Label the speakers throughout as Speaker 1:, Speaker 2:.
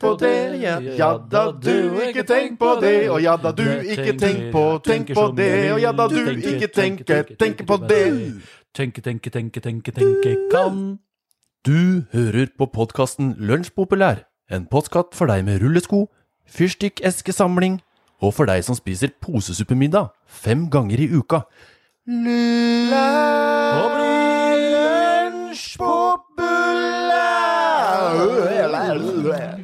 Speaker 1: på det, ja. ja da du ikke tenk på det, og ja da du ikke tenk på, tenk på det, og ja da du ikke tenker, tenker på det.
Speaker 2: Tenke, tenke, tenke, tenke, tenke kan.
Speaker 3: Du hører på podkasten Lunsjpopulær, en podkast for deg med rullesko, fyrstikkeskesamling og for deg som spiser posesuppemiddag fem ganger i uka.
Speaker 1: Lunsjpopulær!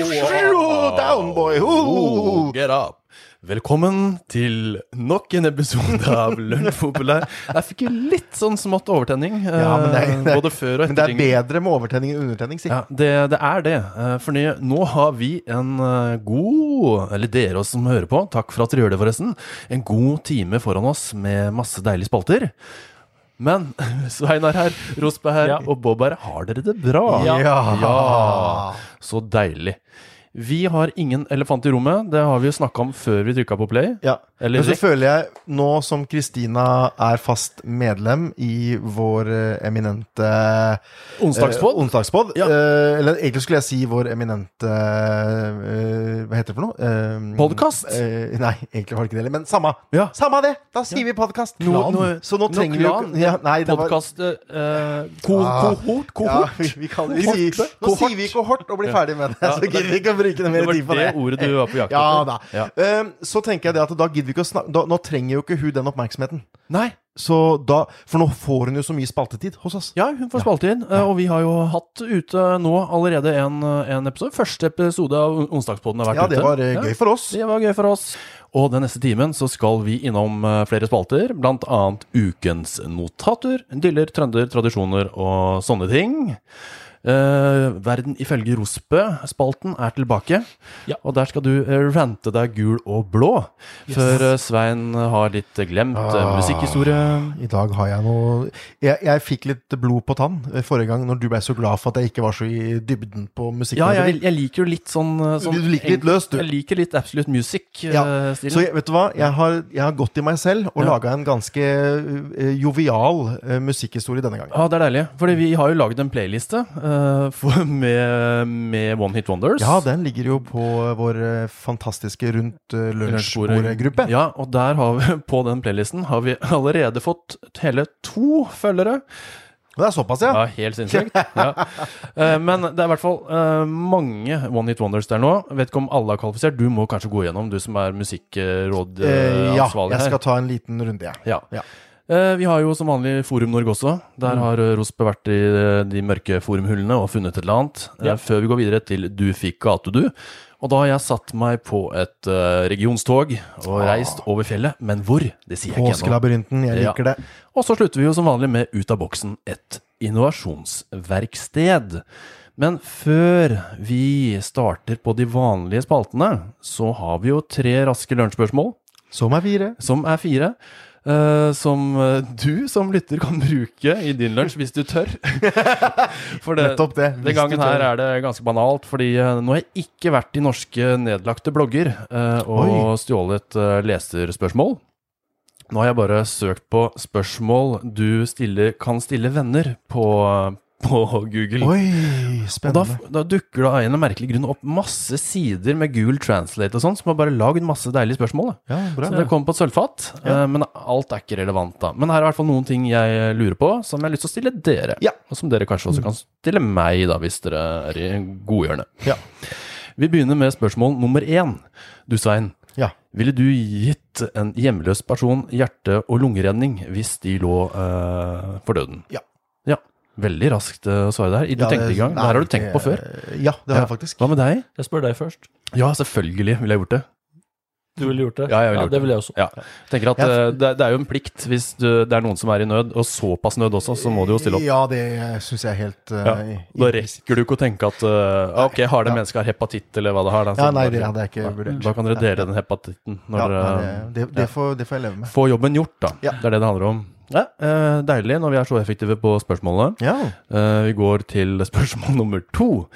Speaker 1: Down, boy! Ho!
Speaker 3: Oh, Get up! Velkommen til nok en episode av Lunsjpopulær. Jeg fikk jo litt sånn smått overtenning,
Speaker 1: Ja, men det er-
Speaker 3: eh,
Speaker 1: det er-
Speaker 3: både før og
Speaker 1: Men det er
Speaker 3: etter.
Speaker 1: bedre med overtenning enn undertenning, si.
Speaker 3: Ja, det, det er det. Eh, For nå- nå har vi en eh, god Eller dere også som hører på, takk for at dere gjør det, forresten. En god time foran oss med masse deilige spalter. Men Svein er her, Rosberg her,
Speaker 2: Ja.
Speaker 3: og Bob er her. Har dere det bra?
Speaker 2: Ja.
Speaker 3: Ja. Så deilig. Vi har ingen elefant i rommet. Det har vi jo snakka om før vi trykka på play.
Speaker 1: Ja.
Speaker 3: Eller
Speaker 1: Men så
Speaker 3: rek-
Speaker 1: føler jeg, nå som Kristina er fast medlem i vår eh, eminente
Speaker 3: Onsdagspod.
Speaker 1: Eh, onsdagspod.
Speaker 3: Ja.
Speaker 1: Eh, eller egentlig skulle jeg si vår eminente eh, Hva heter det for noe? Eh,
Speaker 3: Podcast?
Speaker 1: eh, nei, egentlig var det ikke det heller. Men samme.
Speaker 3: Ja.
Speaker 1: Samme det! Da sier vi podkast.
Speaker 3: Nå- nå-
Speaker 1: så nå
Speaker 3: nå
Speaker 1: trenger vi jo
Speaker 3: klan.
Speaker 1: ikke- ja, Nei, det var
Speaker 3: Podkast eh, ko,
Speaker 1: Ah.
Speaker 3: Kohort?
Speaker 1: ja,
Speaker 3: Kohort?
Speaker 1: vi, vi kan, vi sier,
Speaker 3: Kohort.
Speaker 1: Nå sier vi kohort og blir ferdig med det.
Speaker 3: Ja,
Speaker 1: så gidder vi ikke å bruke noe
Speaker 3: Det
Speaker 1: mer
Speaker 3: var
Speaker 1: tid på
Speaker 3: det
Speaker 1: det.
Speaker 3: ordet du var på jakt
Speaker 1: Ja da.
Speaker 3: Ja.
Speaker 1: Eh, så tenker jeg det at da gidder vi ikke å snakke da, Nå trenger jo ikke hun den oppmerksomheten.
Speaker 3: Nei.
Speaker 1: Så da, For nå får hun jo så mye spaltetid hos oss.
Speaker 3: Ja, hun får spalte inn. eh, Og vi har jo hatt ute nå allerede en, en episode. Første episode av Onsdagspodden har vært
Speaker 1: Ja, det
Speaker 3: ute.
Speaker 1: var eh,
Speaker 3: Ja.
Speaker 1: gøy for oss.
Speaker 3: Det var gøy for oss. Og den neste timen så skal vi innom eh, flere spalter, blant annet ukens notater, diller, trønder, tradisjoner og sånne ting. Eh, Verden ifølge Rosbø-spalten er tilbake,
Speaker 2: Ja.
Speaker 3: og der skal du eh, rante deg gul og blå. Før eh, Svein har litt glemt eh,
Speaker 1: Ah.
Speaker 3: musikkhistorie.
Speaker 1: I dag har jeg noe Jeg, jeg fikk litt blod på tann eh, forrige gang, når du ble så glad for at jeg ikke var så i dybden på musikken.
Speaker 3: Ja, jeg, jeg liker jo litt sånn, eh, sånn
Speaker 1: Du liker litt løst, du.
Speaker 3: Jeg liker litt Absolute eh,
Speaker 1: Ja, Så
Speaker 3: Music-stilen.
Speaker 1: jeg, vet du hva, jeg har, jeg har gått i meg selv
Speaker 3: Ja.
Speaker 1: og laget laga en ganske eh, jovial eh, musikkhistorie denne gangen.
Speaker 3: Ja, det er deilig. Fordi vi har jo lagd en playliste eh, for, med, med One Hit Wonders.
Speaker 1: Ja, den ligger jo på vår eh, fantastiske Rundt eh, lunsjbordet-gruppe.
Speaker 3: Ja, og der har vi, på den playlisten har vi allerede fått hele to følgere.
Speaker 1: Og Det er såpass, ja.
Speaker 3: Ja, helt sinnssykt. Ja. Eh, Men det er i hvert fall eh, mange One Hit Wonders der nå. Vet ikke om alle er kvalifisert. Du må kanskje gå gjennom, du som er
Speaker 1: Eh, ja,
Speaker 3: musikkrådansvarlig
Speaker 1: jeg
Speaker 3: her.
Speaker 1: skal ta en liten runde, jeg.
Speaker 3: Ja.
Speaker 1: Ja.
Speaker 3: Eh, Vi har jo som vanlig Forum Norge også. Der har eh, Rospe vært i eh, de mørke forumhullene og funnet et eller annet. Eh,
Speaker 2: Ja.
Speaker 3: Før vi går videre til Du fikk gatudu. Og da har jeg satt meg på et eh, regionstog og reist over fjellet. Men hvor? Det sier jeg ikke ennå.
Speaker 1: Påskelabyrinten, jeg
Speaker 3: Ja.
Speaker 1: liker det.
Speaker 3: Og så slutter vi jo som vanlig med Ut av boksen et innovasjonsverksted. Men før vi starter på de vanlige spaltene, så har vi jo tre raske lunsjspørsmål
Speaker 1: Som er fire.
Speaker 3: som er fire. eh, som eh, du som lytter kan bruke i din lunsj hvis du tør. For det,
Speaker 1: Nettopp det.
Speaker 3: den gangen her er det ganske banalt, fordi eh, nå har jeg ikke vært i norske nedlagte blogger eh, og
Speaker 1: Oi.
Speaker 3: stjålet eh, leserspørsmål. Nå har jeg bare søkt på spørsmål du stiller, kan stille venner på, på Google.
Speaker 1: Oi,
Speaker 3: Og da,
Speaker 1: spennende.
Speaker 3: da dukker det av en eller annen merkelig grunn opp masse sider med Google Translate og sånn, som har bare lagd masse deilige spørsmål. Da.
Speaker 1: Ja, bra.
Speaker 3: Så det kom på et sølvfat, eh, men alt er ikke relevant da. Men her er i hvert fall noen ting jeg eh, lurer på, som jeg har lyst til å stille dere.
Speaker 1: Ja. Mm.
Speaker 3: Og som dere kanskje også kan stille meg, da, hvis dere er i godhjørnet.
Speaker 1: Ja.
Speaker 3: Vi begynner med spørsmål nummer én. Du, Svein.
Speaker 1: Ja.
Speaker 3: Ville du gitt en hjemløs person hjerte- og lungeredning hvis de lå eh, for døden?
Speaker 1: Ja.
Speaker 3: Ja. Veldig raskt eh, å svare der. Du
Speaker 1: Ja, det-
Speaker 3: tenkte i gang.
Speaker 1: nei,
Speaker 3: Det her har du tenkt på
Speaker 1: det-
Speaker 3: før.
Speaker 1: Ja, det har jeg
Speaker 3: Ja.
Speaker 1: faktisk.
Speaker 3: Hva med deg?
Speaker 2: Jeg spør deg først.
Speaker 3: Ja, selvfølgelig ville jeg gjort det.
Speaker 2: Du ville gjort det?
Speaker 3: Ja, jeg ville gjort
Speaker 2: det. ville jeg også.
Speaker 3: Ja. Tenker at
Speaker 1: Ja.
Speaker 3: eh, det, det er jo en plikt hvis du, det er noen som er i nød, og såpass nød også, så må du jo stille opp.
Speaker 1: Ja, det syns jeg er helt eh,
Speaker 3: Ja. Da
Speaker 1: i-
Speaker 3: rekker du ikke å tenke at eh, ah, ok, har det
Speaker 1: Ja.
Speaker 3: mennesket har hepatitt eller hva det har? da,
Speaker 1: Ja,
Speaker 3: så
Speaker 1: nei,
Speaker 3: bare-
Speaker 1: det hadde jeg ikke
Speaker 3: Nei,
Speaker 1: vurdert.
Speaker 3: Da kan dere dele den hepatitten når
Speaker 1: Ja,
Speaker 3: dere
Speaker 1: nei, det, det, får, det får jeg leve med.
Speaker 3: får jobben gjort, da.
Speaker 1: Ja.
Speaker 3: Det er det det handler om. Ja, eh, deilig når vi er så effektive på spørsmålene.
Speaker 1: Ja.
Speaker 3: Eh, vi går til spørsmål nummer to.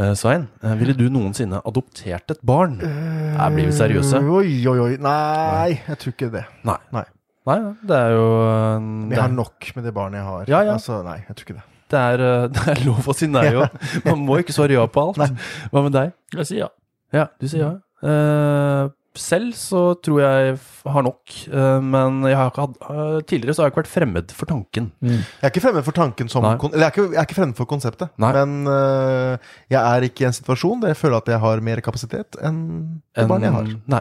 Speaker 3: Eh, Svein, eh, ville du noensinne adoptert et barn?
Speaker 1: Eh,
Speaker 3: Her blir vi seriøse.
Speaker 1: Oi, oi, oi. Nei, jeg tror ikke det.
Speaker 3: Nei.
Speaker 1: Nei.
Speaker 3: Nei, det er jo eh,
Speaker 1: Men
Speaker 3: det
Speaker 1: jeg har
Speaker 3: er,
Speaker 1: nok med det barnet jeg har.
Speaker 3: Ja, ja.
Speaker 1: Altså, nei, jeg tror ikke det.
Speaker 3: det, er, eh, det er lov å si nei jo. Man må ikke svare ja på alt. Hva med deg?
Speaker 2: Jeg sier ja.
Speaker 3: Ja, du sier ja. Eh, selv så tror jeg f- har nok, eh, men jeg har ikke hatt, eh, tidligere så har jeg ikke vært fremmed for tanken.
Speaker 1: Jeg er ikke fremmed for tanken som
Speaker 3: Nei.
Speaker 1: kon Eller jeg er ikke, jeg er ikke fremmed for konseptet.
Speaker 3: Nei.
Speaker 1: Men øh, jeg er ikke i en situasjon der jeg føler at jeg har mer kapasitet enn det barnet jeg har.
Speaker 3: Nei.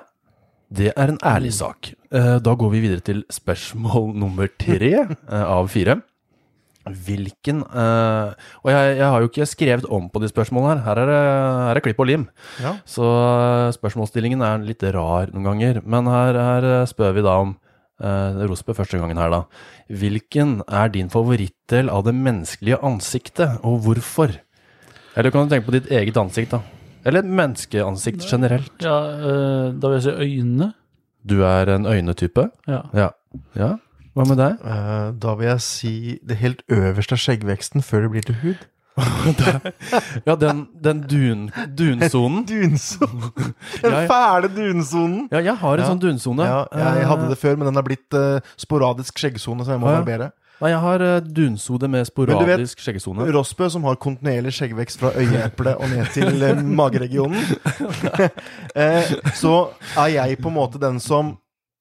Speaker 3: Det er en ærlig sak. Eh, Da går vi videre til spørsmål nummer tre eh, av fire. Hvilken eh, Og jeg, jeg har jo ikke skrevet om på de spørsmålene her. Her er det, her er klipp og lim.
Speaker 1: Ja.
Speaker 3: Så eh, spørsmålsstillingen er litt rar noen ganger. Men her, her eh, spør vi da om eh, Rosberg første gangen her, da. Hvilken er din favorittdel av det menneskelige ansiktet, og hvorfor? Eller kan du tenke på ditt eget ansikt, da? Eller et menneskeansikt generelt.
Speaker 2: ja eh, da vil jeg si øynene.
Speaker 3: Du er en øynetype?
Speaker 2: Ja.
Speaker 3: Ja. ja. Hva med deg?
Speaker 1: Øh, da vil jeg si det helt øverste av skjeggveksten før det blir til hud.
Speaker 3: Ja, den, den dun, dunsonen.
Speaker 1: Dunsonen! Den
Speaker 3: Ja, ja.
Speaker 1: fæle dunsonen!
Speaker 3: Ja, jeg har en
Speaker 1: Ja.
Speaker 3: sånn dunsone.
Speaker 1: Ja, jeg hadde det før, men den er blitt øh, sporadisk skjeggsone, så jeg må
Speaker 3: Å, ja.
Speaker 1: barbere.
Speaker 3: Nei, jeg har eh, dunsode med
Speaker 1: du vet-
Speaker 3: sporadisk skjeggesone.
Speaker 1: Rossbø, som har kontinuerlig skjeggvekst fra øyeeplet og ned til eh, mageregionen. eh, så er jeg på en måte den som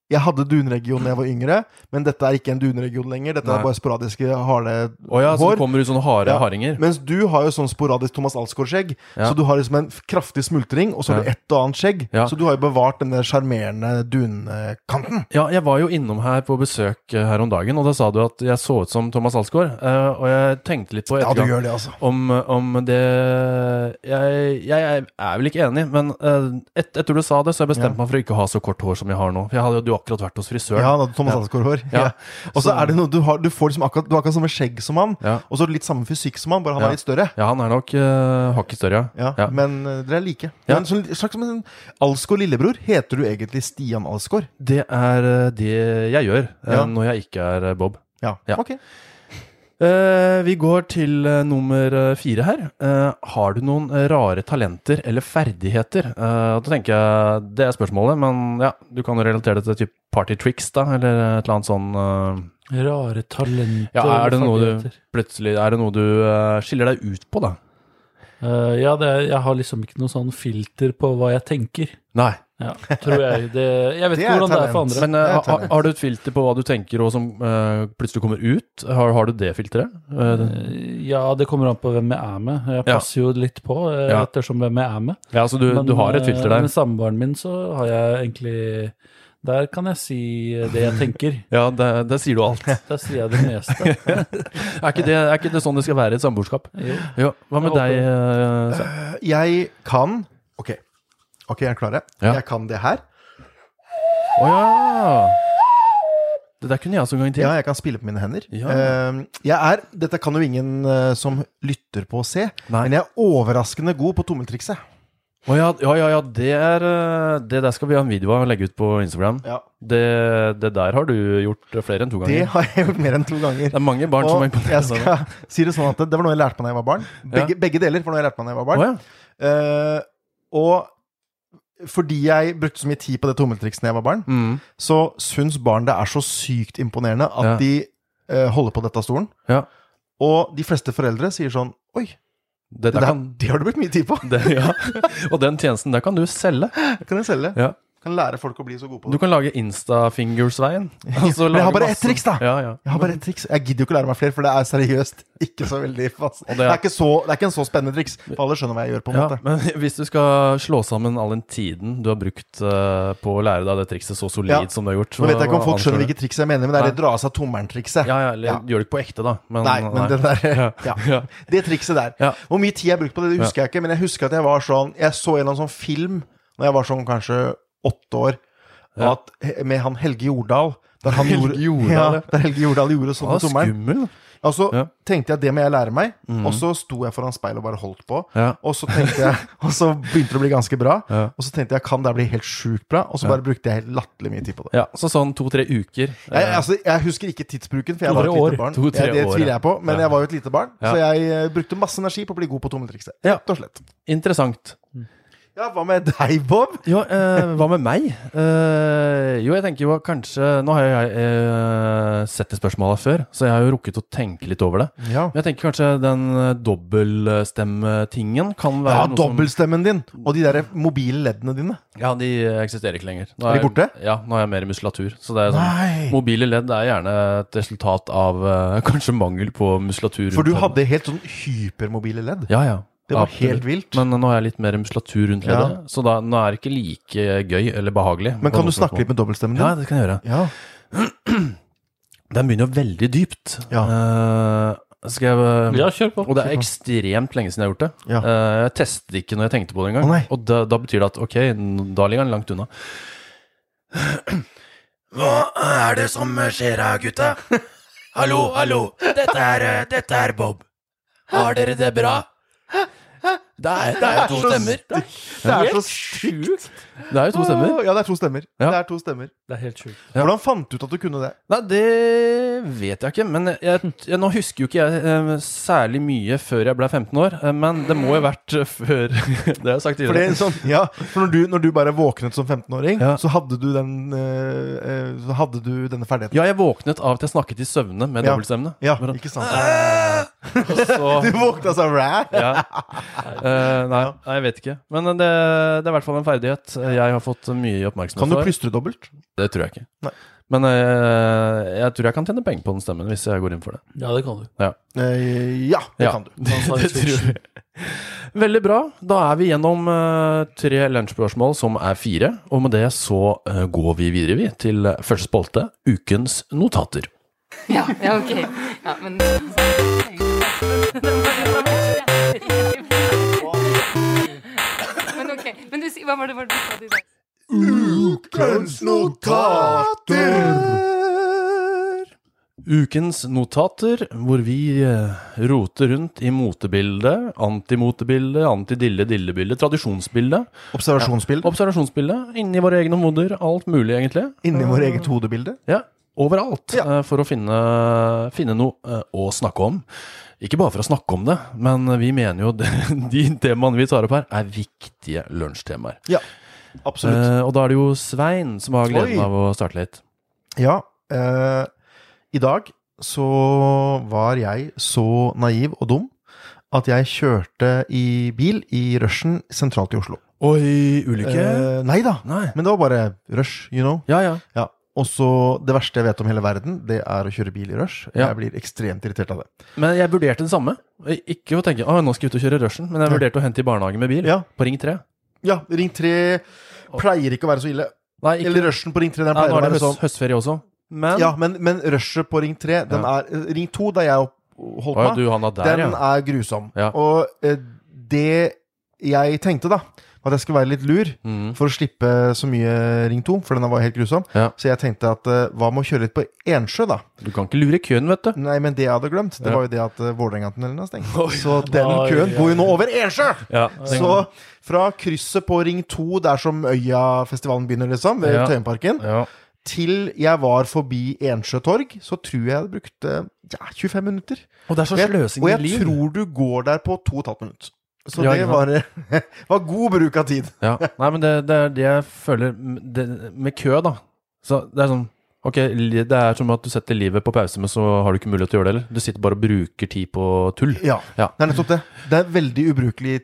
Speaker 1: Jeg hadde dunregion da jeg var yngre, men dette er ikke en dunregion lenger. Dette
Speaker 3: Nei.
Speaker 1: er bare sporadiske harde
Speaker 3: Å ja, så
Speaker 1: hår.
Speaker 3: det kommer ut sånne harde
Speaker 1: Ja.
Speaker 3: hardinger.
Speaker 1: Mens du har jo sånn sporadisk Thomas Alsgaard-skjegg.
Speaker 3: Ja.
Speaker 1: Så du har liksom en f- kraftig smultring, og så har du
Speaker 3: Ja.
Speaker 1: ett og annet skjegg.
Speaker 3: Ja.
Speaker 1: Så du har jo bevart denne sjarmerende dunkanten.
Speaker 3: Ja, jeg var jo innom her på besøk eh, her om dagen, og da sa du at jeg så ut som Thomas Alsgaard. eh, Og jeg tenkte litt på
Speaker 1: Ja, du
Speaker 3: ettergang
Speaker 1: gjør det, altså.
Speaker 3: om, om det jeg, jeg er vel ikke enig, men eh, et, etter du sa det, så har jeg bestemt meg for å ikke ha så kort hår som jeg har nå. For jeg hadde jo- hadde jo akkurat vært hos frisøren.
Speaker 1: Ja, han hadde Thomas Alsgaard-hår.
Speaker 3: Ja.
Speaker 1: Ja. Og så er det noe du har Du får liksom akkurat Du har akkurat samme skjegg som han,
Speaker 3: Ja.
Speaker 1: og så litt samme fysikk som han, bare han
Speaker 3: Ja.
Speaker 1: er litt større.
Speaker 3: Ja, han er nok eh, hakket større,
Speaker 1: Ja,
Speaker 3: Ja.
Speaker 1: Men eh, dere er like.
Speaker 3: Ja.
Speaker 1: Men sånn, slags som en Alsgaard lillebror. Heter du egentlig Stian Alsgaard?
Speaker 3: Det er eh, det jeg gjør eh,
Speaker 1: Ja.
Speaker 3: når jeg ikke er eh, Bob.
Speaker 1: Ja.
Speaker 3: Ja.
Speaker 1: Ok.
Speaker 3: Eh, vi går til eh, nummer eh, fire her. Eh, har du noen eh, rare talenter eller ferdigheter? Eh, da tenker jeg Det er spørsmålet, men ja, du kan jo relatere det til typ party tricks, da, eller et eller annet sånn eh,
Speaker 2: Rare talenter.
Speaker 3: Ja, er det
Speaker 2: og
Speaker 3: noe du
Speaker 2: ferdigheter.
Speaker 3: plutselig Er det noe du eh, skiller deg ut på, da?
Speaker 2: Eh, ja, det er, jeg har liksom ikke noe sånn filter på hva jeg tenker.
Speaker 3: Nei.
Speaker 2: Ja, tror jeg. Det, jeg vet
Speaker 1: Det
Speaker 2: ikke
Speaker 1: er
Speaker 2: hvordan det er for
Speaker 1: talent.
Speaker 2: andre.
Speaker 3: Men eh,
Speaker 1: Det er
Speaker 3: ha-
Speaker 1: talent.
Speaker 3: har du et filter på hva du tenker, og som eh, plutselig kommer ut? Har, har du det filteret? Eh,
Speaker 2: Eh, Ja, det kommer an på hvem jeg er med. Jeg
Speaker 3: Ja.
Speaker 2: passer jo litt på eh,
Speaker 3: Ja.
Speaker 2: ettersom hvem jeg er med.
Speaker 3: ja, så du, du har et filter
Speaker 2: eh,
Speaker 3: der?
Speaker 2: Med samboeren min så har jeg egentlig Der kan jeg si det jeg tenker.
Speaker 3: Ja, der, der sier du alt.
Speaker 2: Der sier jeg det meste.
Speaker 3: Er ikke det, er ikke det sånn det skal være i et samboerskap?
Speaker 2: Jo.
Speaker 3: Jo, hva med
Speaker 2: Jeg håper
Speaker 3: deg, eh, Svein?
Speaker 1: Jeg kan Ok, Ok, jeg er klare?
Speaker 3: Ja.
Speaker 1: Jeg kan det her.
Speaker 3: Å ja! Det der kunne jeg også en gang til.
Speaker 1: Ja, jeg kan spille på mine hender.
Speaker 3: Ja.
Speaker 1: Eh, Jeg er Dette kan jo ingen eh, som lytter på, se,
Speaker 3: Nei.
Speaker 1: men jeg er overraskende god på tommeltrikset.
Speaker 3: Å ja, ja, ja, ja det, er, eh, det der skal vi ha en video av og legge ut på Instagram.
Speaker 1: Ja.
Speaker 3: Det, det der har du gjort flere enn to
Speaker 1: Det
Speaker 3: ganger. Det,
Speaker 1: har jeg gjort mer enn to ganger.
Speaker 3: er mange barn som
Speaker 1: Og
Speaker 3: er
Speaker 1: jeg
Speaker 3: imponert over det.
Speaker 1: skal si det sånn at det var noe jeg lærte meg da jeg var barn. Begge, begge deler var noe jeg lærte meg da jeg var barn.
Speaker 3: Å ja.
Speaker 1: Eh, og fordi jeg brukte så mye tid på det tommeltrikset da jeg var barn,
Speaker 3: Mm.
Speaker 1: så syns barn det er så sykt imponerende at
Speaker 3: Ja.
Speaker 1: de eh, holder på dette av stolen.
Speaker 3: Ja.
Speaker 1: Og de fleste foreldre sier sånn Oi,
Speaker 3: Det
Speaker 1: det,
Speaker 3: der
Speaker 1: der,
Speaker 3: kan
Speaker 1: det har du brukt mye tid på!
Speaker 3: det, ja. Og den tjenesten der kan du selge.
Speaker 1: Kan jeg selge?
Speaker 3: Ja.
Speaker 1: Kan lære folk å bli så gode på
Speaker 3: Du
Speaker 1: det.
Speaker 3: kan lage Instafingers-veien. og så
Speaker 1: Men jeg har
Speaker 3: lage
Speaker 1: bare
Speaker 3: masse-
Speaker 1: ett triks, da.
Speaker 3: Ja, ja.
Speaker 1: Jeg har bare ett triks. Jeg gidder jo ikke lære meg flere, for det er seriøst ikke så veldig fast.
Speaker 3: er-
Speaker 1: Det er ikke, så, det er ikke en så spennende triks, for alle skjønner hva jeg gjør. på en
Speaker 3: Ja,
Speaker 1: måte
Speaker 3: men hvis du skal slå sammen all den tiden du har brukt eh, på å lære deg det trikset så solid
Speaker 1: Ja.
Speaker 3: som du har gjort
Speaker 1: Nå vet jeg ikke om folk skjønner
Speaker 3: ikke
Speaker 1: hvilket triks jeg mener, men det er
Speaker 3: Nei.
Speaker 1: det dra av seg tommelen-trikset.
Speaker 3: Ja, ja, eller
Speaker 1: Ja.
Speaker 3: gjør det ikke på ekte, da. Men,
Speaker 1: Nei, men det der
Speaker 3: Ja.
Speaker 1: ja.
Speaker 3: Ja.
Speaker 1: Det trikset der.
Speaker 3: Ja.
Speaker 1: Hvor mye tid jeg brukte på det, det husker jeg ikke, men jeg husker at jeg var sånn Jeg så en eller annen sånn film Når jeg var sånn kanskje åtte år,
Speaker 3: Ja.
Speaker 1: at, med han Helge Jordal. Der han
Speaker 3: Helge
Speaker 1: gjorde,
Speaker 3: Jordal, ja.
Speaker 1: ja, der Helge Jordal gjorde sånn
Speaker 3: Han
Speaker 1: med
Speaker 3: er
Speaker 1: tommelen.
Speaker 3: skummel.
Speaker 1: Og så
Speaker 3: Ja.
Speaker 1: tenkte jeg det må jeg lære meg,
Speaker 3: Mhm.
Speaker 1: og så sto jeg foran speilet og bare holdt på.
Speaker 3: Ja.
Speaker 1: Og så tenkte jeg, og så begynte det å bli ganske bra.
Speaker 3: Ja.
Speaker 1: Og så tenkte jeg kan det her bli helt sjukt bra, og så bare brukte jeg helt latterlig mye tid på det.
Speaker 3: ja, så sånn to-tre uker.
Speaker 1: Jeg, altså, jeg husker ikke tidsbruken, for jeg var et
Speaker 2: To-tre år.
Speaker 1: lite barn.
Speaker 3: Eh. To-tre
Speaker 1: jeg, det
Speaker 3: år,
Speaker 1: tviler
Speaker 3: ja.
Speaker 1: jeg på, men
Speaker 3: Ja.
Speaker 1: jeg var jo et lite barn,
Speaker 3: Ja.
Speaker 1: så jeg eh, brukte masse energi på å bli god på tommeltrikset.
Speaker 3: Ja.
Speaker 1: Rett og slett.
Speaker 3: Interessant.
Speaker 1: Ja, hva med deg, Bob?
Speaker 3: Jo, eh, hva med meg? Eh, jo, jeg tenker jo at kanskje Nå har jeg eh, sett det spørsmålet før, så jeg har jo rukket å tenke litt over det.
Speaker 1: Ja,
Speaker 3: Men Jeg tenker kanskje den eh, dobbeltstemmetingen kan være
Speaker 1: ja
Speaker 3: noe som-
Speaker 1: dobbeltstemmen din og de der mobile leddene dine.
Speaker 3: Ja, de eh, eksisterer ikke lenger. Nå
Speaker 1: Er de
Speaker 3: jeg-
Speaker 1: borte?
Speaker 3: Ja, nå har jeg mer muskulatur. Så det er sånn,
Speaker 1: Nei.
Speaker 3: Mobile ledd er gjerne et resultat av eh, kanskje mangel på muskulatur.
Speaker 1: For
Speaker 3: rundt
Speaker 1: du
Speaker 3: leddet.
Speaker 1: hadde helt sånn hypermobile ledd.
Speaker 3: Ja, ja.
Speaker 1: Det var
Speaker 3: Absolutt.
Speaker 1: helt vilt.
Speaker 3: Men nå har jeg litt mer muskulatur rundt
Speaker 1: Ja.
Speaker 3: leddet, så da, nå er det ikke like gøy eller behagelig.
Speaker 1: Men kan du snakke litt med dobbeltstemmen
Speaker 3: Ja,
Speaker 1: din?
Speaker 3: det kan jeg gjøre.
Speaker 1: Ja.
Speaker 3: Den begynner jo veldig dypt. Eh, skal jeg
Speaker 2: Ja, kjør på.
Speaker 3: Og det er ekstremt lenge siden jeg har gjort det.
Speaker 1: Ja.
Speaker 3: Eh, jeg testet det ikke når jeg tenkte på det engang.
Speaker 1: Å, nei.
Speaker 3: og da, da betyr det at ok, n- da ligger han langt unna. Hva er det som skjer her, gutta? Hallo, hallo. Dette er, Bob. Har dere det bra? Det er, jo to stemmer.
Speaker 1: Det er så
Speaker 2: sjukt!
Speaker 3: Det er jo to stemmer.
Speaker 1: Ja, det er to stemmer.
Speaker 3: Ja.
Speaker 1: Det er to stemmer.
Speaker 2: Det er helt sjukt.
Speaker 3: Ja.
Speaker 1: Hvordan fant du ut at du kunne det?
Speaker 3: Nei, det vet jeg ikke. Men jeg, jeg, nå husker jo ikke jeg eh, særlig mye før jeg ble 15 år. eh, Men det må jo ha vært eh, før Det har jeg sagt
Speaker 1: For, det,
Speaker 3: tidligere.
Speaker 1: er sånn, ja, for når, du, når du bare våknet som 15-åring,
Speaker 3: Ja.
Speaker 1: så, hadde du den, eh, eh, så hadde du denne ferdigheten.
Speaker 3: Ja, jeg våknet av at jeg snakket i søvne med
Speaker 1: Ja.
Speaker 3: dobbeltstemme.
Speaker 1: Ja,
Speaker 3: Bare-
Speaker 1: ikke sant? Du våkna sånn ræ!
Speaker 3: ja. Eh, nei, nei, jeg vet ikke. Men det, det er i hvert fall en ferdighet jeg har fått mye oppmerksomhet
Speaker 1: Kan du
Speaker 3: for.
Speaker 1: plystre dobbelt?
Speaker 3: Det tror jeg ikke.
Speaker 1: Nei.
Speaker 3: Men eh, jeg tror jeg kan tjene penger på den stemmen hvis jeg går inn for det.
Speaker 2: Ja, det kan du.
Speaker 1: Eh, ja, det
Speaker 3: Ja.
Speaker 1: kan du.
Speaker 2: Man tar
Speaker 3: Det
Speaker 2: en
Speaker 3: tror jeg. Veldig bra. Da er vi gjennom eh, tre lunsjspørsmål, som er fire. Og med det så eh, går vi videre, vi, til første spalte, ukens notater.
Speaker 4: Ja, ja ok. Ja, men... Men ok, men du, si- hva var det, hva var det du sa til deg?
Speaker 1: notater!
Speaker 3: Ukens notater, hvor vi eh, roter rundt i motebildet, antimotebildet, antidille-dillebildet, tradisjonsbildet,
Speaker 1: Observasjonsbilde.
Speaker 3: observasjonsbildet, inni våre egne hoder, alt mulig egentlig.
Speaker 1: Inni vår eget hodebilde.
Speaker 3: Ja, overalt,
Speaker 1: Ja.
Speaker 3: eh, for å finne, finne noe eh, å snakke om. Ikke bare for å snakke om det, men vi mener jo det, de temaene vi tar opp her, er viktige lunsjtemaer.
Speaker 1: Ja, absolutt.
Speaker 3: Eh, og da er det jo Svein som har gleden
Speaker 1: Oi.
Speaker 3: av å starte litt.
Speaker 1: Ja, eh, i dag så var jeg så naiv og dum at jeg kjørte i bil i rushen sentralt i Oslo.
Speaker 3: Oi, ulykke?
Speaker 1: Eh, nei da,
Speaker 3: Nei.
Speaker 1: men det var bare rush, you know.
Speaker 3: Ja, ja.
Speaker 1: Ja. Og så det verste jeg vet om hele verden, det er å kjøre bil i rush.
Speaker 3: Ja.
Speaker 1: Jeg blir ekstremt irritert av det.
Speaker 3: Men jeg vurderte det samme. Ikke å tenke «Å, nå skal jeg ut og kjøre rushen, men jeg vurderte å hente i barnehagen med bil.
Speaker 1: Ja.
Speaker 3: På Ring 3.
Speaker 1: Ja, Ring 3 pleier ikke å være så ille.
Speaker 3: Nei, ikke,
Speaker 1: Eller rushen på Ring 3, den
Speaker 3: nei
Speaker 1: pleier
Speaker 3: nå
Speaker 1: å
Speaker 3: er det
Speaker 1: være
Speaker 3: høst,
Speaker 1: sånn.
Speaker 3: høstferie også. Men
Speaker 1: Ja, men, men rushet på Ring 3, den
Speaker 3: Ja.
Speaker 1: er eh, Ring 2, der jeg opp-
Speaker 3: Å, ja,
Speaker 1: holdt meg,
Speaker 3: du, han er der,
Speaker 1: den
Speaker 3: ja.
Speaker 1: er grusom.
Speaker 3: Ja.
Speaker 1: Og eh, det jeg tenkte, da, var at jeg skulle være litt lur.
Speaker 3: Mm.
Speaker 1: For å slippe så mye Ring 2, for den var helt grusom.
Speaker 3: Ja.
Speaker 1: Så jeg tenkte at eh, hva med å kjøre litt på Ensjø, da?
Speaker 3: Du kan ikke lure køen, vet du.
Speaker 1: Nei, men det jeg hadde glemt, det
Speaker 3: Ja.
Speaker 1: var jo det at uh, Vålerenga-tunnelen er stengt. Så den
Speaker 2: Oi,
Speaker 1: køen
Speaker 2: oi,
Speaker 1: går jo nå
Speaker 2: oi.
Speaker 1: over Ensjø!
Speaker 3: Ja, den-
Speaker 1: Så fra krysset på Ring 2, der som Øyafestivalen begynner, liksom, ved
Speaker 3: Ja.
Speaker 1: Tøyenparken,
Speaker 3: ja.
Speaker 1: til jeg var forbi Ensjø torg, så tror jeg jeg brukte ja, 25 minutter.
Speaker 3: Og det er så
Speaker 1: Og jeg-
Speaker 3: sløsing
Speaker 1: Og
Speaker 3: med
Speaker 1: jeg
Speaker 3: liv.
Speaker 1: tror du går der på 2 15 minutter. Så
Speaker 3: Ja,
Speaker 1: det
Speaker 3: ikke
Speaker 1: var, var god bruk av tid.
Speaker 3: Ja. Nei, men det, det er det jeg føler m- det, med kø, da. Så det er sånn Ok, li- det er som at du setter livet på pause, men så har du ikke mulighet til å gjøre det heller. Du sitter bare og bruker tid på tull.
Speaker 1: Ja,
Speaker 3: Ja.
Speaker 1: det er nettopp det. Det er veldig ubrukelig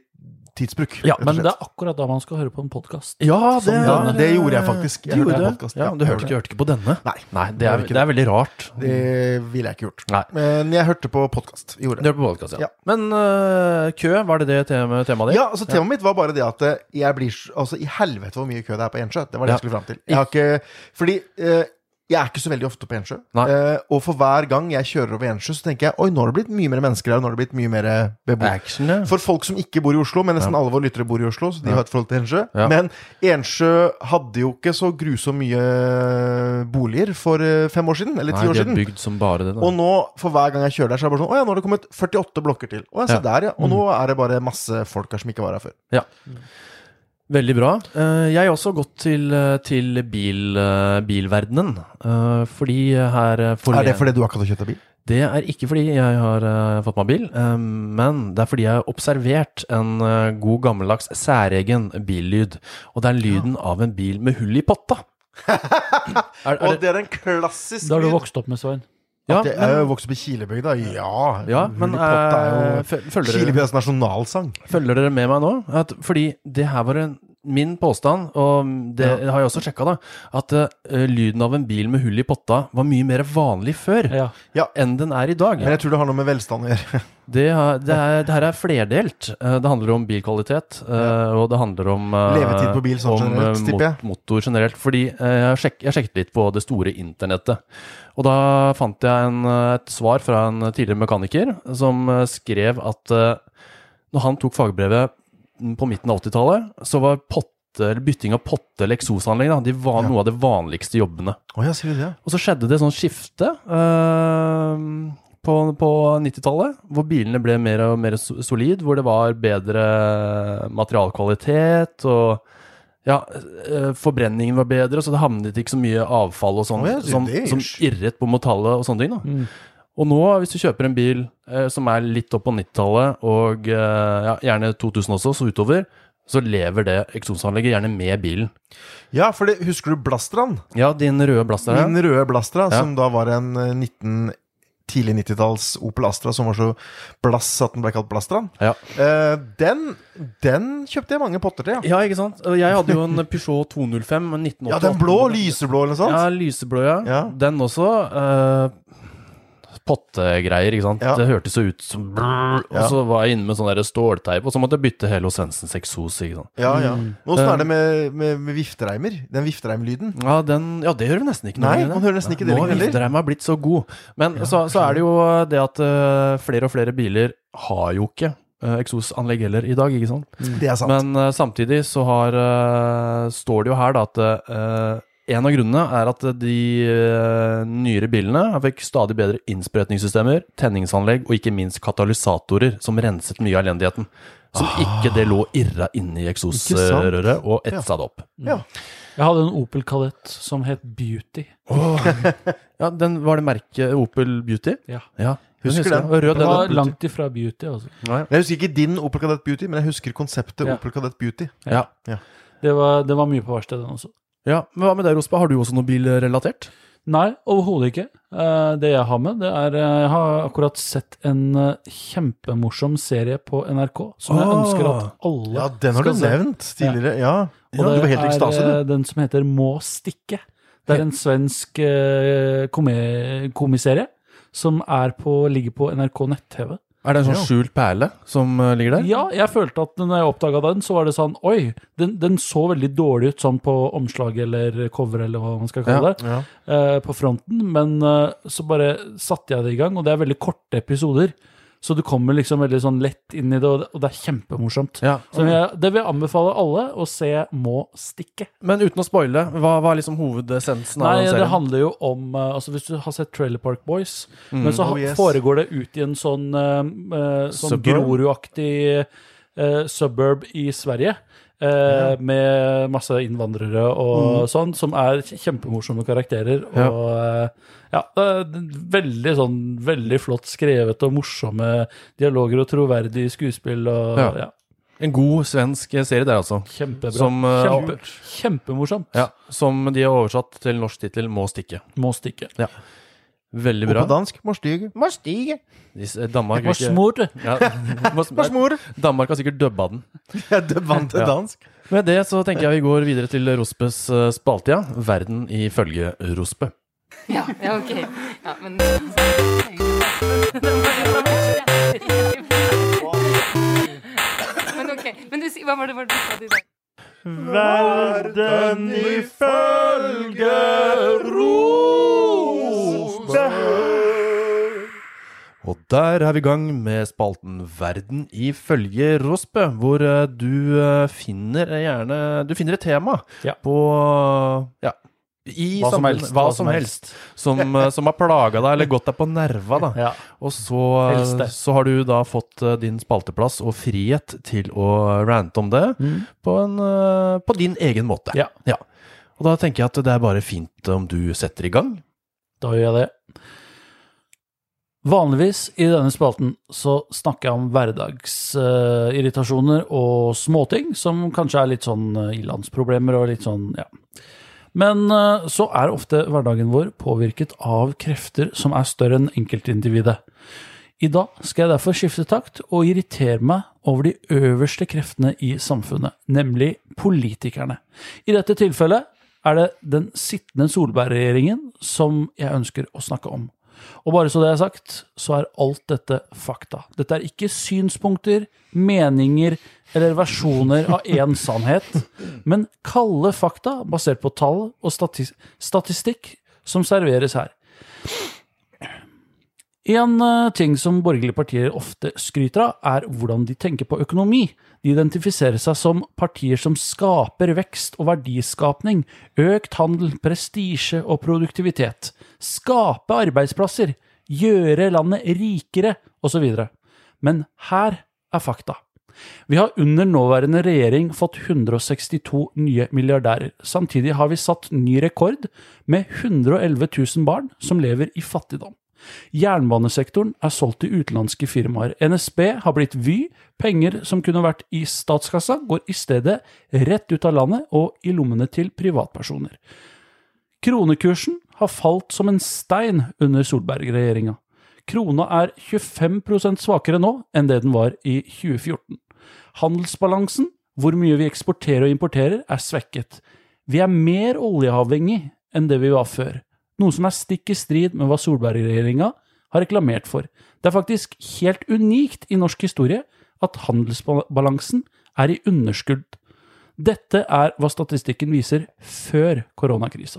Speaker 1: tidsbruk.
Speaker 3: Ja,
Speaker 1: rett og
Speaker 2: Men
Speaker 1: slett.
Speaker 2: det er akkurat da man skal høre på en podkast.
Speaker 3: Sånn, Ja, det,
Speaker 2: Som
Speaker 1: denne. Det gjorde jeg faktisk. Jeg
Speaker 3: du
Speaker 1: hørte
Speaker 3: gjorde
Speaker 1: på
Speaker 3: det?
Speaker 1: podcast,
Speaker 3: Ja,
Speaker 1: ja.
Speaker 3: men du
Speaker 1: Jeg
Speaker 3: hørte,
Speaker 1: hørte
Speaker 3: du hørte ikke på denne?
Speaker 1: Nei.
Speaker 3: det,
Speaker 1: Jeg
Speaker 3: er,
Speaker 1: gjorde ikke
Speaker 3: det er veldig rart.
Speaker 1: Det ville jeg ikke gjort.
Speaker 3: Nei.
Speaker 1: Men jeg hørte på podkast. Gjorde
Speaker 3: Du
Speaker 1: det.
Speaker 3: hørte på podcast, ja.
Speaker 1: Ja.
Speaker 3: Men øh, kø, var det det tema, temaet ditt?
Speaker 1: Ja, altså Temaet mitt var bare det at eh, jeg blir s- Altså, i helvete hvor mye kø det er på Ensjø. Det var det
Speaker 3: Ja.
Speaker 1: jeg skulle fram til. Jeg har ikke Fordi eh, jeg er ikke så veldig ofte på Ensjø.
Speaker 3: Nei.
Speaker 1: Eh, og for hver gang jeg kjører over Ensjø, så tenker jeg oi, nå har det blitt mye mer mennesker her. Nå har det blitt mye mer eh, beboere.
Speaker 3: Action, ja.
Speaker 1: For folk som ikke bor i Oslo, men nesten alle våre lyttere bor i Oslo, så de har et forhold til Ensjø.
Speaker 3: Ja.
Speaker 1: Men Ensjø hadde jo ikke så grusomt mye boliger for eh, fem år siden, eller
Speaker 3: Nei,
Speaker 1: ti år
Speaker 3: de er
Speaker 1: siden.
Speaker 3: bygd som bare det. Da.
Speaker 1: Og nå, for hver gang jeg kjører der, så er det bare sånn Å ja, nå har det kommet 48 blokker til. Å ja, se
Speaker 3: Ja.
Speaker 1: der, ja. Og nå er det bare masse folk her som ikke var her før.
Speaker 3: Veldig bra. Eh, Jeg har også gått til, eh, til bil, eh, bilverdenen. eh, Fordi her eh, forleden-
Speaker 1: Er det fordi du har ikke hatt kjøtt av bil?
Speaker 3: Det er ikke fordi jeg har eh, fått meg bil, eh, men det er fordi jeg har observert en eh, god gammeldags særegen billyd. Og det er lyden av en bil med hull i potta. er,
Speaker 1: Og
Speaker 3: er det,
Speaker 1: det er en klassisk
Speaker 2: Det har du
Speaker 1: lyd.
Speaker 2: vokst opp med, Svein.
Speaker 3: ja,
Speaker 1: At jeg er jo
Speaker 3: men,
Speaker 1: vokst opp i Kilebygda. Ja.
Speaker 3: ja, men
Speaker 1: Hull i potta
Speaker 3: eh,
Speaker 1: er
Speaker 3: føl-
Speaker 1: jo
Speaker 3: følger dere-
Speaker 1: Kilebygdas nasjonalsang.
Speaker 3: Følger dere med meg nå? At, fordi det her var en, min påstand, og det har jeg også sjekka, da, at eh, lyden av en bil med hull i potta var mye mer vanlig før
Speaker 2: Ja.
Speaker 3: enn den er i dag.
Speaker 1: Men jeg tror det har noe med velstand å gjøre.
Speaker 3: Det, har- det, er, det her er flerdelt. Eh, Det handler om bilkvalitet, eh, og det handler om eh,
Speaker 1: Levetid på bil sånn
Speaker 3: om, eh,
Speaker 1: generelt, tipper jeg.
Speaker 3: motor generelt. Fordi eh, jeg, sjek, jeg sjekket litt på det store internettet. Og da fant jeg en, eh, et svar fra en tidligere mekaniker som eh, skrev at eh, når han tok fagbrevet på midten av 80-tallet, så var potte, eller bytting av potte eller eksosanlegg da, de var
Speaker 1: Ja.
Speaker 3: noe av de vanligste jobbene.
Speaker 1: Å ja, sier du det?
Speaker 3: Og så skjedde det sånn skifte eh, på, på 90-tallet, hvor bilene ble mer og mer so- solid, hvor det var bedre materialkvalitet og ja, eh, forbrenningen var bedre, så det havnet ikke så mye avfall og sånn
Speaker 1: Å ja, det-
Speaker 3: som,
Speaker 1: det er jo
Speaker 3: som
Speaker 1: sj-
Speaker 3: irret på metallet og sånne ting. Da.
Speaker 2: Mm.
Speaker 3: Og nå, hvis du kjøper en bil eh, som er litt opp på 90-tallet, og eh, ja, gjerne 2000 også, så utover, så lever det eksosanlegget gjerne med bilen.
Speaker 1: Ja, for det, husker du Blastraen?
Speaker 3: Ja, din røde blaster her.
Speaker 1: Min røde Blastra,
Speaker 3: Ja.
Speaker 1: som da var en eh, 19... Tidlig 90-talls Opel Astra som var så blass at den ble kalt Blastraen.
Speaker 3: Ja.
Speaker 1: Eh, den, den kjøpte jeg mange potter til, ja.
Speaker 3: Ja, ikke sant? Jeg hadde jo en Peugeot 205 men 1988.
Speaker 1: Ja, den blå, lyseblå eller noe
Speaker 3: Ja,
Speaker 1: sånt.
Speaker 3: lyseblå, ja.
Speaker 1: Ja.
Speaker 3: Den også. Eh, pottegreier, ikke sant.
Speaker 1: Ja.
Speaker 3: Det hørtes jo ut som brrr,
Speaker 1: Ja.
Speaker 3: Og så var jeg inne med sånn der stålteip, og så måtte jeg bytte hele Svensens eksos, ikke sant.
Speaker 1: Ja, ja.
Speaker 2: Mm.
Speaker 1: Men Åssen er det med, med, med viftereimer? Den viftereimlyden?
Speaker 3: Ja, den, ja, det hører vi nesten ikke
Speaker 1: Nei,
Speaker 3: lenger, det.
Speaker 1: man hører nesten ikke det
Speaker 3: Nå
Speaker 1: lenger heller.
Speaker 3: vifter jeg meg blitt så god. Men så, så er det jo det at eh, flere og flere biler har jo ikke eh, eksosanlegg heller i dag, ikke sant.
Speaker 1: Det er sant.
Speaker 3: Men eh, samtidig så har, eh, står det jo her da, at eh, en av grunnene er at de eh, nyere bilene fikk stadig bedre innsprøytningssystemer, tenningsanlegg og ikke minst katalysatorer som renset mye av elendigheten. Som ikke det lå irra inne i eksosrøret og
Speaker 1: Ah. Ja.
Speaker 3: etsa det opp.
Speaker 1: ja.
Speaker 2: Jeg hadde en Opel Kadett som het Beauty.
Speaker 3: Ja, den Var det merket Opel Beauty?
Speaker 2: Ja.
Speaker 3: Ja,
Speaker 1: Husker den.
Speaker 3: jeg. Rød
Speaker 2: Det var
Speaker 3: den.
Speaker 2: langt ifra Beauty, altså.
Speaker 3: Ja,
Speaker 1: Jeg husker ikke din Opel Kadett Beauty, men jeg husker konseptet
Speaker 2: Ja.
Speaker 1: Opel Kadett Beauty.
Speaker 3: ja.
Speaker 2: Det var, det var mye på verkstedet, den også.
Speaker 3: ja. Men hva med deg, Rospa? Har du også noe bilrelatert?
Speaker 2: Nei, overhodet ikke. Eh, Det jeg har med, det er eh, Jeg har akkurat sett en eh, kjempemorsom serie på NRK som jeg
Speaker 3: Ah.
Speaker 2: ønsker at alle
Speaker 1: Ja, den har
Speaker 2: skal
Speaker 1: du
Speaker 2: se.
Speaker 1: nevnt tidligere. Ja.
Speaker 2: Og
Speaker 1: ja,
Speaker 2: det
Speaker 1: du var helt i
Speaker 2: er
Speaker 1: ekstase,
Speaker 2: eh,
Speaker 1: du.
Speaker 2: den som heter Må stikke. Det er en svensk eh, komi- komiserie som er på, ligger på NRK nett-TV.
Speaker 3: Er det en sånn
Speaker 1: Ja.
Speaker 3: skjult perle som eh, ligger der?
Speaker 2: Ja, jeg følte at når jeg oppdaga den, så var det sånn Oi, den, den så veldig dårlig ut sånn på omslag eller cover eller hva man skal
Speaker 3: Ja,
Speaker 2: kalle det.
Speaker 1: Ja.
Speaker 2: eh, på fronten, men eh, så bare satte jeg det i gang, og det er veldig korte episoder. Så du kommer liksom veldig sånn lett inn i det, og det, og det er kjempemorsomt.
Speaker 3: Ja.
Speaker 2: Så jeg, det vil jeg anbefale alle å se Må stikke.
Speaker 3: Men uten å spoile, hva, hva er liksom hovedessensen av
Speaker 2: Nei,
Speaker 3: den
Speaker 2: det
Speaker 3: serien?
Speaker 2: handler jo om eh, altså Hvis du har sett Trailer Park Boys,
Speaker 3: Mm.
Speaker 2: men så
Speaker 1: Oh,
Speaker 2: ha-
Speaker 1: yes.
Speaker 2: foregår det ut i en sånn, eh, eh, sånn
Speaker 3: Suburb?
Speaker 2: Grorud-aktig eh, suburb i Sverige. eh, Med masse innvandrere
Speaker 3: Mm.
Speaker 2: og sånn, som er kj- kjempemorsomme karakterer. Og eh, ja, det er veldig sånn veldig flott skrevet og morsomme dialoger og troverdig skuespill og
Speaker 3: Ja.
Speaker 2: ja,
Speaker 3: En god svensk serie der, altså.
Speaker 2: kjempebra.
Speaker 3: Som, eh,
Speaker 2: Kjempe, kjempemorsomt.
Speaker 3: Ja, som de har oversatt til norsk tittel 'Må stikke'.
Speaker 2: Må stikke.
Speaker 3: Veldig
Speaker 1: Og
Speaker 3: bra.
Speaker 1: på dansk Morstige.
Speaker 3: Må stige. Danmark,
Speaker 2: Hva
Speaker 3: vil ikke,
Speaker 2: smor?
Speaker 3: ja, Nei,
Speaker 1: Morsmor!
Speaker 3: Danmark har sikkert dubba den.
Speaker 1: Jeg vant til
Speaker 3: Ja.
Speaker 1: dansk.
Speaker 3: Med det så tenker jeg vi går videre til Rospes eh, spalte, ja. Verden ifølge Rospe.
Speaker 4: Ja, ja, ok. Ja, men Men ok. Men du, si- hva var det, var det du sa til deg?
Speaker 1: Verden ifølge ro.
Speaker 3: der er vi i gang med spalten Verden ifølge Rosbø, hvor eh, du eh, finner gjerne Du finner et tema
Speaker 2: Ja.
Speaker 3: på eh, Ja. I
Speaker 2: Hva som
Speaker 3: samfunnet-
Speaker 2: helst,
Speaker 3: Hva som helst. Som, eh, som har plaga deg, eller gått deg på nerva, da.
Speaker 2: Ja.
Speaker 3: Og så,
Speaker 2: Helst det.
Speaker 3: så har du da fått eh, din spalteplass og frihet til å rante om det på, en, eh, på din egen måte.
Speaker 2: Ja.
Speaker 3: Og da tenker jeg at det er bare fint om du setter i gang.
Speaker 2: Da gjør jeg det. Vanligvis i denne spalten så snakker jeg om hverdagsirritasjoner og småting, som kanskje er litt sånn eh, ilandsproblemer og litt sånn, ja. Men eh, så er ofte hverdagen vår påvirket av krefter som er større enn enkeltindividet. I dag skal jeg derfor skifte takt og irritere meg over de øverste kreftene i samfunnet, nemlig politikerne. I dette tilfellet er det den sittende Solberg-regjeringen som jeg ønsker å snakke om. Og bare så det er sagt, så er alt dette fakta. Dette er ikke synspunkter, meninger eller versjoner av én sannhet, men kalde fakta basert på tall og statis statistikk som serveres her. En eh, ting som borgerlige partier ofte skryter av, er hvordan de tenker på økonomi. De identifiserer seg som partier som skaper vekst og verdiskapning, økt handel, prestisje og produktivitet. Skape arbeidsplasser, gjøre landet rikere, osv. Men her er fakta. Vi har under nåværende regjering fått 162 nye milliardærer. Samtidig har vi satt ny rekord med 111 000 barn som lever i fattigdom. Jernbanesektoren er solgt til utenlandske firmaer. NSB har blitt Vy. Penger som kunne vært i statskassa, går i stedet rett ut av landet og i lommene til privatpersoner. Kronekursen har falt som en stein under Solberg-regjeringa. Krona er 25 svakere nå enn det den var i 2014. Handelsbalansen, hvor mye vi eksporterer og importerer, er svekket. Vi er mer oljeavhengig enn det vi var før, noe som er stikk i strid med hva Solberg-regjeringa har reklamert for. Det er faktisk helt unikt i norsk historie at handelsbalansen er i underskudd. Dette er hva statistikken viser før koronakrisa.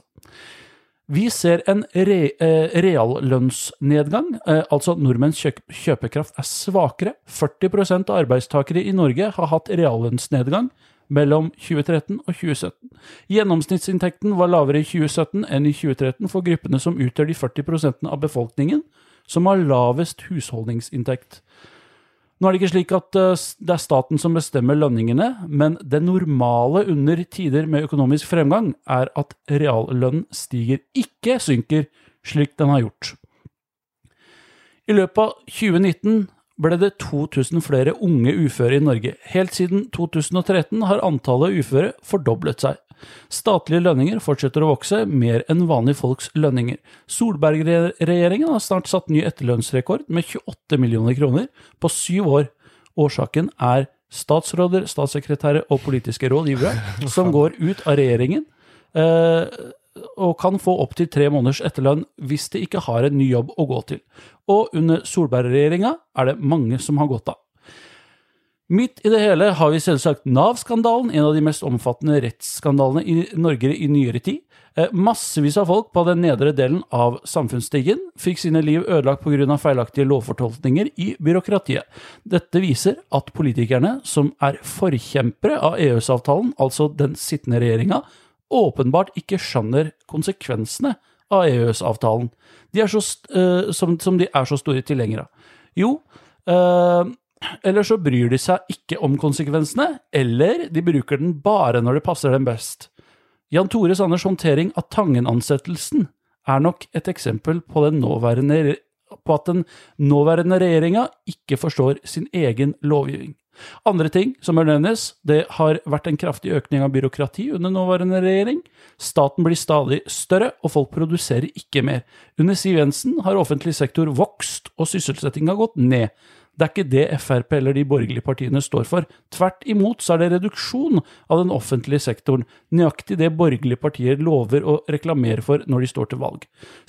Speaker 2: Vi ser en re, eh, reallønnsnedgang, eh, altså nordmenns kjøk, kjøpekraft er svakere. 40 av arbeidstakere i Norge har hatt reallønnsnedgang mellom 2013 og 2017. Gjennomsnittsinntekten var lavere i 2017 enn i 2013 for gruppene som utgjør de 40 av befolkningen som har lavest husholdningsinntekt. Nå er det ikke slik at eh, s- det er staten som bestemmer lønningene, men det normale under tider med økonomisk fremgang er at reallønnen stiger, ikke synker, slik den har gjort. I løpet av 2019 ble det 2000 flere unge uføre i Norge. Helt siden 2013 har antallet uføre fordoblet seg. Statlige lønninger fortsetter å vokse mer enn vanlige folks lønninger. Solberg-regjeringen har snart satt ny etterlønnsrekord med 28 millioner kroner på syv år. Årsaken er statsråder, statssekretærer og politiske rådgivere som går ut av regjeringen eh, og kan få opptil tre måneders etterlønn hvis de ikke har en ny jobb å gå til. Og under Solberg-regjeringa er det mange som har gått av. Midt i det hele har vi selvsagt Nav-skandalen, en av de mest omfattende rettsskandalene i Norge i nyere tid. Eh, Massevis av folk på den nedre delen av samfunnsstigen fikk sine liv ødelagt pga. feilaktige lovfortolkninger i byråkratiet. Dette viser at politikerne, som er forkjempere av EØS-avtalen, altså den sittende regjeringa, åpenbart ikke skjønner konsekvensene av EØS-avtalen, De er så st- eh, som, som de er så store tilhengere av. Jo, eh, eller så bryr de seg ikke om konsekvensene, eller de bruker den bare når det passer dem best. Jan Tore Sanners håndtering av Tangen-ansettelsen er nok et eksempel på, den nåværende, på at den nåværende regjeringa ikke forstår sin egen lovgivning. Andre ting som bør nevnes, det har vært en kraftig økning av byråkrati under nåværende regjering. Staten blir stadig større, og folk produserer ikke mer. Under Siv Jensen har offentlig sektor vokst, og sysselsettinga gått ned. Det er ikke det Frp eller de borgerlige partiene står for. Tvert imot så er det reduksjon av den offentlige sektoren, nøyaktig det borgerlige partier lover å reklamere for når de står til valg.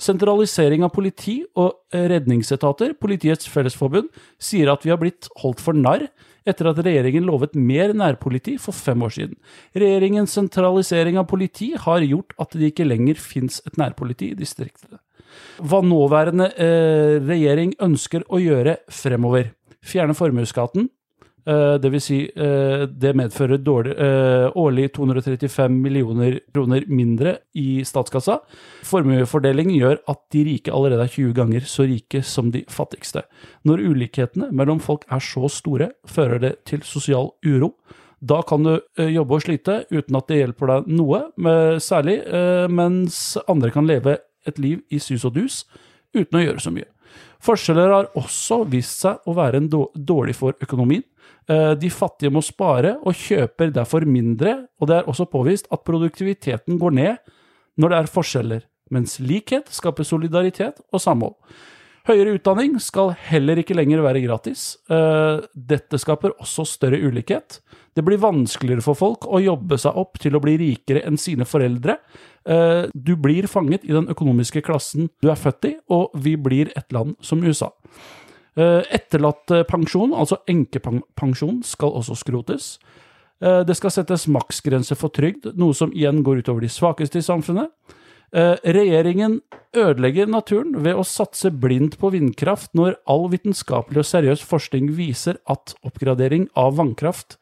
Speaker 2: Sentralisering av politi og eh, redningsetater, Politiets Fellesforbund, sier at vi har blitt holdt for narr etter at regjeringen lovet mer nærpoliti for fem år siden. Regjeringens sentralisering av politi har gjort at det ikke lenger fins et nærpoliti i distriktene. Hva nåværende eh, regjering ønsker å gjøre fremover. Fjerne formuesskatten. Eh, det vil si, eh, det medfører dårlig, eh, årlig 235 millioner kroner mindre i statskassa. Formuefordeling gjør at de rike allerede er 20 ganger så rike som de fattigste. Når ulikhetene mellom folk er så store, fører det til sosial uro. Da kan du eh, jobbe og slite uten at det hjelper deg noe, men- særlig, eh, mens andre kan leve et liv i sus og dus uten å gjøre så mye. Forskjeller har også vist seg å være en då- dårlig for økonomien. Eh, De fattige må spare og kjøper derfor mindre, og det er også påvist at produktiviteten går ned når det er forskjeller, mens likhet skaper solidaritet og samhold. Høyere utdanning skal heller ikke lenger være gratis. Eh, Dette skaper også større ulikhet. Det blir vanskeligere for folk å jobbe seg opp til å bli rikere enn sine foreldre. Eh, Du blir fanget i den økonomiske klassen du er født i, og vi blir et land som USA. Eh, Etterlattepensjon, altså enkepensjon, skal også skrotes. Eh, Det skal settes maksgrense for trygd, noe som igjen går utover de svakeste i samfunnet. Eh, Regjeringen ødelegger naturen ved å satse blindt på vindkraft når all vitenskapelig og seriøs forskning viser at oppgradering av vannkraft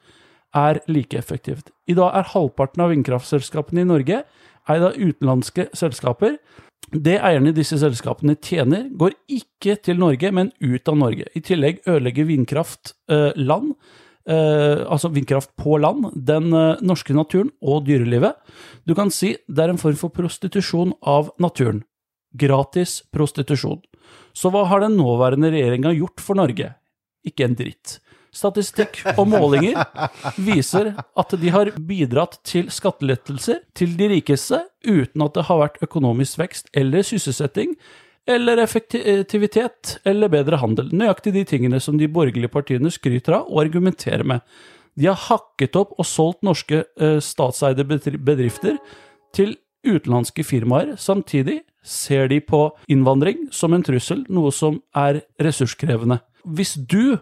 Speaker 2: er like effektivt. I dag er halvparten av vindkraftselskapene i Norge eid av utenlandske selskaper. Det eierne i disse selskapene tjener, går ikke til Norge, men ut av Norge. I tillegg ødelegger vindkraft eh, land, eh, altså vindkraft på land, den eh, norske naturen og dyrelivet. Du kan si det er en form for prostitusjon av naturen. Gratis prostitusjon. Så hva har den nåværende regjeringa gjort for Norge? Ikke en dritt. Statistikk og målinger viser at de har bidratt til skattelettelser til de rikeste uten at det har vært økonomisk vekst eller sysselsetting eller effektivitet eller bedre handel. Nøyaktig de tingene som de borgerlige partiene skryter av og argumenterer med. De har hakket opp og solgt norske eh, statseide bedri- bedrifter til utenlandske firmaer. Samtidig ser de på innvandring som en trussel, noe som er ressurskrevende. Hvis du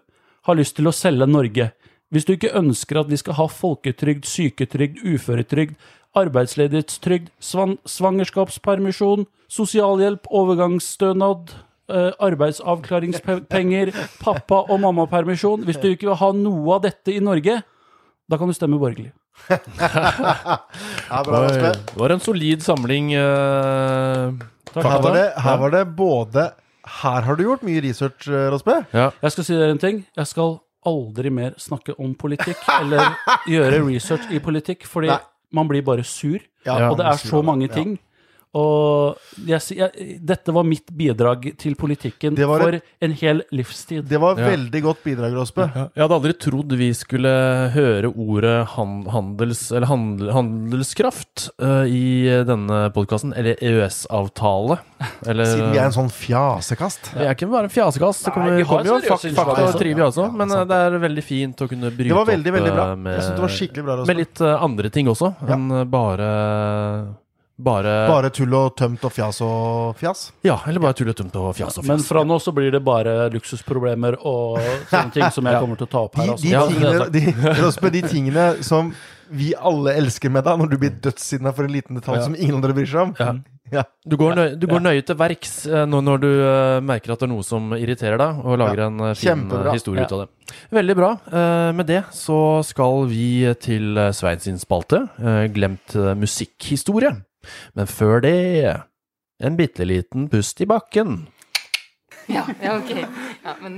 Speaker 2: har lyst til å selge Norge, hvis du ikke ønsker at vi skal ha folketrygd, syketrygd, uføretrygd, arbeidsledighetstrygd, svan svangerskapspermisjon, sosialhjelp, overgangsstønad, eh, arbeidsavklaringspenger, pappa- og mammapermisjon Hvis du ikke vil ha noe av dette i Norge, da kan du stemme borgerlig.
Speaker 1: Ja, bra, Aspe.
Speaker 3: Det var en solid samling. eh,
Speaker 1: Her var, det,
Speaker 3: Ja.
Speaker 1: her var det både Her har du gjort mye research, eh, Raspe.
Speaker 2: Jeg skal si dere en ting. Jeg skal aldri mer snakke om politikk eller gjøre research i politikk, fordi
Speaker 1: Nei.
Speaker 2: man blir bare sur.
Speaker 1: Ja,
Speaker 2: og det er så mange
Speaker 1: Ja.
Speaker 2: ting. Og jeg, sier- jeg, dette var mitt bidrag til politikken
Speaker 1: Det var
Speaker 2: for
Speaker 1: et-
Speaker 2: en hel livstid.
Speaker 1: Det var
Speaker 3: Ja.
Speaker 1: veldig godt bidrag, Raspe.
Speaker 3: Ja, Jeg hadde aldri trodd vi skulle høre ordet han- handels, eller handel, handelskraft eh, i denne podkasten, eller EØS-avtale. Eller
Speaker 1: Siden vi er en sånn fjasekast.
Speaker 3: Vi er ikke bare en fjasekast. Det kommer,
Speaker 2: Nei, vi
Speaker 3: vi
Speaker 2: har
Speaker 3: kommer jo
Speaker 2: seriøse
Speaker 3: fak-
Speaker 2: innslag
Speaker 3: fakta og
Speaker 2: også.
Speaker 3: trivi også,
Speaker 1: Ja,
Speaker 3: men eh,
Speaker 1: sant
Speaker 3: det er veldig fint å kunne bryte
Speaker 1: Det var
Speaker 3: opp,
Speaker 1: veldig, veldig bra.
Speaker 3: eh, Med,
Speaker 1: Jeg synes det var skikkelig bra.
Speaker 3: med
Speaker 1: Raspe.
Speaker 3: litt eh, andre ting også,
Speaker 1: Ja.
Speaker 3: enn eh, bare bare,
Speaker 1: Bare tull og tømt og fjas og fjas.
Speaker 3: Ja, eller bare tull og tømt og fjas og fjas.
Speaker 2: Men fra nå så blir det bare luksusproblemer og sånne ting som jeg kommer til å ta opp
Speaker 1: De,
Speaker 2: her.
Speaker 1: de,
Speaker 2: Altså.
Speaker 1: tingene, de, Raspe, de tingene som vi alle elsker med deg når du
Speaker 3: Mm.
Speaker 1: blir dødssinna for en liten detalj som ingen andre bryr seg om. Ja.
Speaker 3: Du går, nøye, du går nøye til verks eh, når, når du eh, merker at det er noe som irriterer deg, og lager en eh, fin
Speaker 1: Kjempebra.
Speaker 3: eh, historie
Speaker 2: Ja.
Speaker 3: ut av det. Veldig bra. Eh, Med det så skal vi til eh, Svein sin spalte, eh, Glemt eh, musikkhistorie. Men før det en bitte liten pust i bakken.
Speaker 4: Ja, ja, ok. Ja, men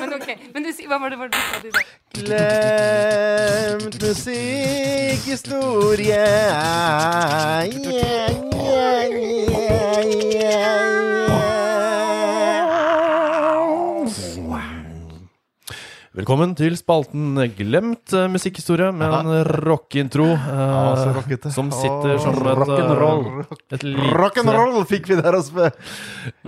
Speaker 4: Men ok. Men du, si- hva var det, hva var det du sa du sa?
Speaker 1: Glemt musikkhistorie. Yeah, yeah, yeah,
Speaker 3: Velkommen til spalten Glemt eh, musikkhistorie med en rockeintro eh,
Speaker 1: Ah, så rockete. Ah,
Speaker 3: som sitter som et, eh,
Speaker 2: Rock'n'roll.
Speaker 3: et lite
Speaker 1: Rock'n'roll fikk vi der, Aspe.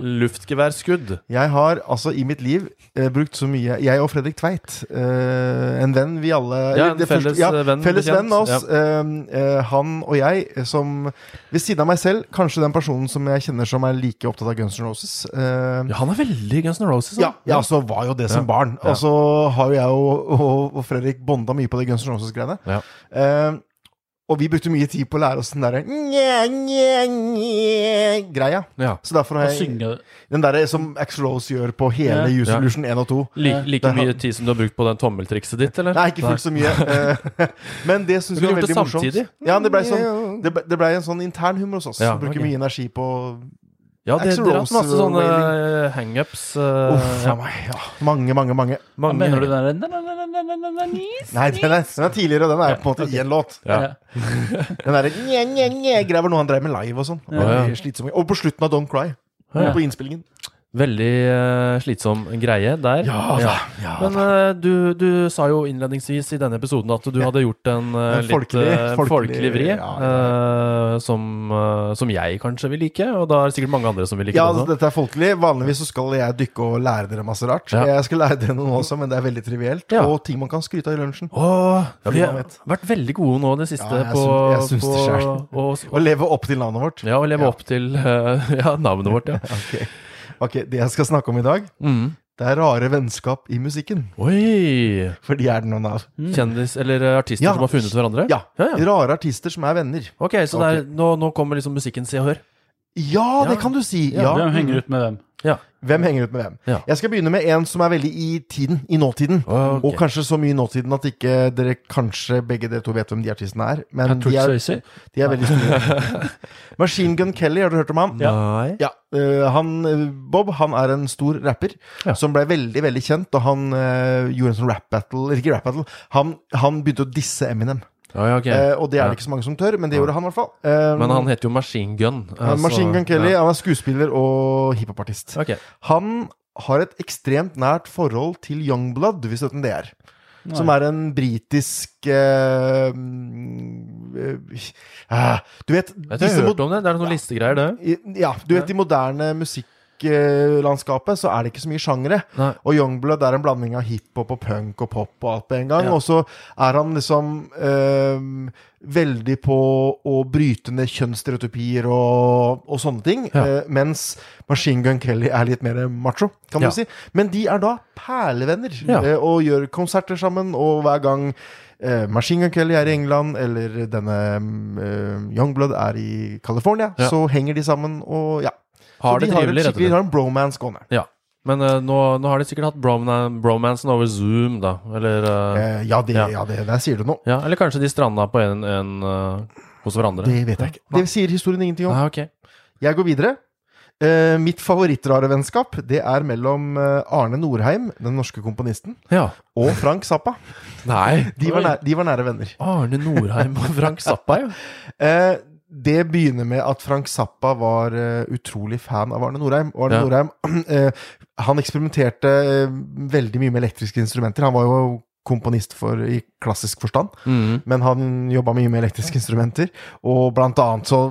Speaker 3: luftgeværskudd.
Speaker 1: Jeg har altså i mitt liv eh, brukt så mye Jeg og Fredrik Tveit, eh, en venn vi alle
Speaker 3: Ja, en
Speaker 1: det første-
Speaker 3: felles, eh, venn,
Speaker 1: Felles venn av
Speaker 3: bekjent,
Speaker 1: oss. eh, eh, han og jeg, eh, som ved siden av meg selv, kanskje den personen som jeg kjenner som er like opptatt av Guns N' Roses. eh,
Speaker 3: Ja, han er veldig Guns N' Roses. han.
Speaker 1: ja, ja, så var jo det som
Speaker 3: Ja. altså.
Speaker 1: barn.
Speaker 3: Ja.
Speaker 1: Og så har jo jeg og, og, og Fredrik bonda mye på det Guns N' Roses-greiene.
Speaker 3: Ja.
Speaker 1: Eh, Og vi brukte mye tid på å lære oss den derre nje, nje, nje, greia.
Speaker 3: Ja.
Speaker 1: Så derfor har
Speaker 2: Å
Speaker 1: jeg
Speaker 2: synge
Speaker 1: den derre som Axl Rose gjør på hele
Speaker 2: Ja.
Speaker 1: User
Speaker 3: Ja.
Speaker 1: Solution 1 og 2.
Speaker 3: Like, like
Speaker 1: Det har-
Speaker 3: mye tid som du har brukt på den tommeltrikset ditt, eller?
Speaker 1: Nei, ikke fullt så mye. eh, Men det syns
Speaker 3: Du
Speaker 1: vi var
Speaker 3: gjorde det
Speaker 1: veldig morsomt.
Speaker 3: samtidig.
Speaker 1: Ja, det blei sånn, det ble, det ble en sånn intern humor hos oss.
Speaker 3: Ja,
Speaker 1: Vi Bruker
Speaker 3: ok.
Speaker 1: mye energi på
Speaker 3: Ja, det,
Speaker 1: Axl
Speaker 3: dere har hatt
Speaker 1: Rose
Speaker 3: masse sånne
Speaker 1: wailing.
Speaker 3: eh, hangups. eh,
Speaker 1: Uff
Speaker 3: ja.
Speaker 1: a meg. Ja. Mange, mange, mange.
Speaker 2: Hva
Speaker 3: Mange
Speaker 2: Mener du den der
Speaker 1: Nei, den er, den er tidligere. Den er på en måte i en låt.
Speaker 3: Ja.
Speaker 1: Den derre nje, nje, nje greia var noe han drev med live og sånn. Det
Speaker 3: Ja, ja.
Speaker 1: var slitsomt. Og på slutten av Don't Cry.
Speaker 2: Ja.
Speaker 1: På innspillingen.
Speaker 3: Veldig eh, slitsom greie der. Men eh, du, du sa jo innledningsvis i denne episoden at du hadde gjort en eh,
Speaker 1: En
Speaker 3: litt
Speaker 1: folkelig-
Speaker 3: eh, folkelig
Speaker 1: folkelig-
Speaker 3: vri,
Speaker 1: ja,
Speaker 3: eh, som, eh, som jeg kanskje vil like, og da er det sikkert mange andre som vil like
Speaker 1: Ja, altså,
Speaker 3: det også.
Speaker 1: dette er folkelig. Vanligvis så skal jeg dykke og lære dere masse rart.
Speaker 3: Ja.
Speaker 1: Jeg skal lære dere noe også, men det er veldig trivielt.
Speaker 3: Ja.
Speaker 1: Og ting man kan skryte av i lunsjen.
Speaker 3: Åh,
Speaker 1: Ja,
Speaker 3: vi
Speaker 1: det var
Speaker 3: har
Speaker 1: mitt.
Speaker 3: vært veldig gode nå i det siste
Speaker 1: Ja, jeg
Speaker 3: på,
Speaker 1: syns- jeg syns
Speaker 3: på
Speaker 1: det
Speaker 3: å-
Speaker 1: Og leve opp til navnet vårt.
Speaker 3: ja, å leve
Speaker 1: Ja.
Speaker 3: opp til eh, ja, navnet vårt, ja.
Speaker 1: Ok. ok, det jeg skal snakke om i dag,
Speaker 3: Mm.
Speaker 1: det er rare vennskap i musikken.
Speaker 3: Oi!
Speaker 1: For de er det noen av.
Speaker 3: Kjendis, eller eh, artister
Speaker 1: Mm. Ja.
Speaker 3: som har funnet hverandre?
Speaker 1: Ja.
Speaker 3: Ja, ja.
Speaker 1: Rare artister som er venner.
Speaker 3: Ok, så det er, nå, nå kommer liksom musikken Se og Hør.
Speaker 1: Ja, det
Speaker 3: Ja.
Speaker 1: kan du si!
Speaker 2: Ja.
Speaker 1: Ja.
Speaker 2: Hvem henger ut med hvem?
Speaker 1: Hvem henger ut med hvem?
Speaker 3: Ja.
Speaker 1: Jeg skal begynne med en som er veldig i tiden. I nåtiden.
Speaker 3: Ok.
Speaker 1: Og kanskje så mye i nåtiden at ikke dere kanskje begge dere to vet hvem de artistene er. Men de
Speaker 2: Patrick
Speaker 1: er,
Speaker 2: Swayze?
Speaker 1: de er veldig store. Machine Gun Kelly, har du hørt om ham?
Speaker 3: Nei.
Speaker 1: Ja, øh, han, øh, Bob han er en stor rapper
Speaker 3: Ja.
Speaker 1: som ble veldig veldig kjent da han øh, gjorde en sånn rap battle eller Ikke rap battle, han, han begynte å disse Eminem.
Speaker 3: Ja, ja, ok.
Speaker 1: Eh, og det er
Speaker 3: Ja.
Speaker 1: det ikke så mange som tør, men det gjorde han i hvert fall. Eh,
Speaker 3: Men han heter jo Machine Gun.
Speaker 1: han-
Speaker 3: altså,
Speaker 1: Machine Gun Kelly
Speaker 3: ja.
Speaker 1: han er skuespiller og hiphopartist.
Speaker 3: Ok.
Speaker 1: Han har et ekstremt nært forhold til Youngblood, hvis vet hvem det er. Som er en britisk eh, mm, eh, ah, Du vet
Speaker 3: Jeg har
Speaker 1: disse mod-
Speaker 3: hørt om det. Det er noen listegreier, det.
Speaker 1: i- Ja, du vet i moderne musikklandskapet så er det ikke så mye sjangere.
Speaker 3: Nei.
Speaker 1: Og Youngblood er en blanding av hiphop og punk og pop og alt på en gang.
Speaker 3: Ja.
Speaker 1: Og så er han liksom øhm, veldig på å bryte ned kjønnsstereotypier og, og sånne ting.
Speaker 3: Ja.
Speaker 1: eh, mens Machine Gun Kelly er litt mer macho, kan
Speaker 3: Ja.
Speaker 1: du si. Men de er da perlevenner
Speaker 3: Ja.
Speaker 1: eh, og gjør konserter sammen, og hver gang eh, Machine Gun Kelly er i England, eller denne eh, Youngblood er i California,
Speaker 3: Ja.
Speaker 1: så henger de sammen og ja.
Speaker 3: Har
Speaker 1: så
Speaker 3: det
Speaker 1: de har,
Speaker 3: trivelig,
Speaker 1: et
Speaker 3: rett og
Speaker 1: skikkelig,
Speaker 3: slett.
Speaker 1: har en bromance gående.
Speaker 3: Ja. Men eh, nå, nå har de sikkert hatt broman bromansen over Zoom, da. Eller eh,
Speaker 1: Eh, ja, det,
Speaker 3: Ja.
Speaker 1: ja det, der sier du noe.
Speaker 3: Ja, eller kanskje de stranda på en, en eh, hos hverandre.
Speaker 1: Det vet jeg ikke. Det sier historien ingenting om.
Speaker 3: Ah, ok.
Speaker 1: Jeg går videre. Eh, mitt favorittrare vennskap det er mellom eh, Arne Norheim, den norske komponisten,
Speaker 3: Ja.
Speaker 1: og Frank Zappa.
Speaker 3: Nei.
Speaker 1: De var,
Speaker 3: Oi.
Speaker 1: nær, de var nære venner.
Speaker 3: Arne Norheim og Frank Zappa, ja.
Speaker 1: Eh, det begynner med at Frank Zappa var eh, utrolig fan av Arne Norheim. Og Arne
Speaker 3: Ja.
Speaker 1: Norheim eh, han eksperimenterte eh, veldig mye med elektriske instrumenter. Han var jo komponist for, i klassisk forstand.
Speaker 3: Mhm.
Speaker 1: Men han jobba mye med elektriske instrumenter, og blant annet så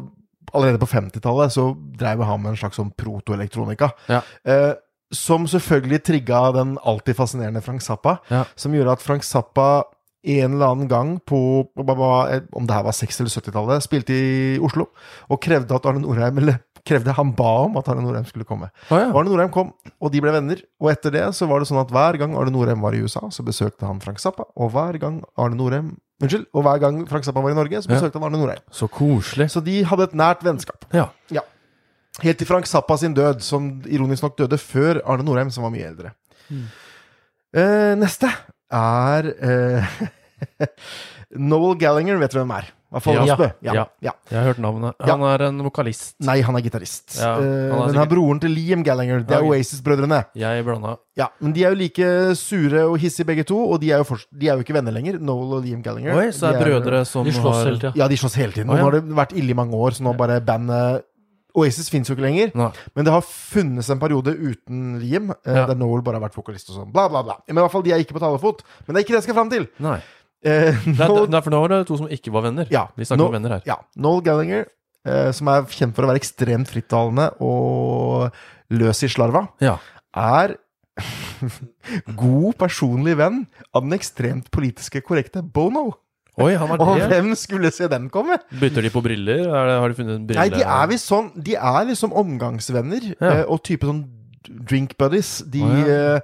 Speaker 1: Allerede på 50-tallet så dreiv han med en slags sånn protoelektronika.
Speaker 3: Ja.
Speaker 1: Eh, som selvfølgelig trigga den alltid fascinerende Frank Zappa,
Speaker 3: Ja.
Speaker 1: som gjorde at Frank Zappa en eller annen gang på hva- hva- om det her var 60- eller 70-tallet, spilte i Oslo og krevde at Arne Norheim Eller krevde han ba om at Arne Norheim skulle komme.
Speaker 3: Å, ja.
Speaker 1: Arne Norheim kom, og de ble venner. Og etter det så var det sånn at hver gang Arne Norheim var i USA, så besøkte han Frank Zappa. Og hver gang Arne Norheim Unnskyld, og hver gang Frank Zappa var i Norge, så
Speaker 3: Ja.
Speaker 1: besøkte han Arne Norheim.
Speaker 3: Så koselig.
Speaker 1: Så de hadde et nært vennskap.
Speaker 3: Ja.
Speaker 1: Helt til Frank Zappa sin død, som ironisk nok døde før Arne Norheim, som var mye eldre.
Speaker 3: Hmm.
Speaker 1: Eh, neste er eh, Noel Gallagher, vet du hvem er? Hva faller
Speaker 3: Ja.
Speaker 1: oss på?
Speaker 3: Ja.
Speaker 1: ja.
Speaker 3: Jeg har hørt navnet.
Speaker 1: Ja.
Speaker 3: Han er en vokalist.
Speaker 1: Nei, han er gitarist.
Speaker 3: Ja, han er
Speaker 1: Eh,
Speaker 3: sikkert-
Speaker 1: men han er broren til Liam Gallagher. Det er
Speaker 3: Ja, ok.
Speaker 1: Oasis-brødrene.
Speaker 3: Jeg blanda.
Speaker 1: Ja, men de er jo like sure og hissige begge to, og de er jo, forts- de er jo ikke venner lenger. Noel og Liam Gallagher.
Speaker 3: Oi, så
Speaker 1: De
Speaker 3: er brødre som
Speaker 2: De slåss
Speaker 3: har
Speaker 2: hele tida.
Speaker 1: Ja, de slåss hele tiden.
Speaker 3: Å, ja.
Speaker 1: Nå har det vært ille i mange år, så nå bare bandet Oasis fins jo ikke lenger,
Speaker 3: Nei.
Speaker 1: men det har funnes en periode uten Liam, eh,
Speaker 3: Ja.
Speaker 1: der Noel bare har vært vokalist og sånn. Bla, bla, bla. Men i hvert fall, de er ikke på talefot. Men det er ikke det jeg skal fram til.
Speaker 3: Nei.
Speaker 1: Eh,
Speaker 3: Det er,
Speaker 1: Noel,
Speaker 3: det er for nå var det to som ikke var venner.
Speaker 1: Ja.
Speaker 3: Vi snakker
Speaker 1: Nå-
Speaker 3: om venner her.
Speaker 1: ja, Noel Gallagher, eh, som er kjent for å være ekstremt frittalende og løs i slarva,
Speaker 3: Ja.
Speaker 1: er god personlig venn av den ekstremt politiske korrekte Bono.
Speaker 3: Oi, han var
Speaker 1: Og
Speaker 3: det.
Speaker 1: hvem skulle se den komme?
Speaker 3: Bytter de på briller? Er det, har de funnet en brille?
Speaker 1: Nei, de er visst sånn De er liksom omgangsvenner
Speaker 3: Ja.
Speaker 1: eh, og type sånn drink buddies. De
Speaker 3: Å, ja.
Speaker 1: eh,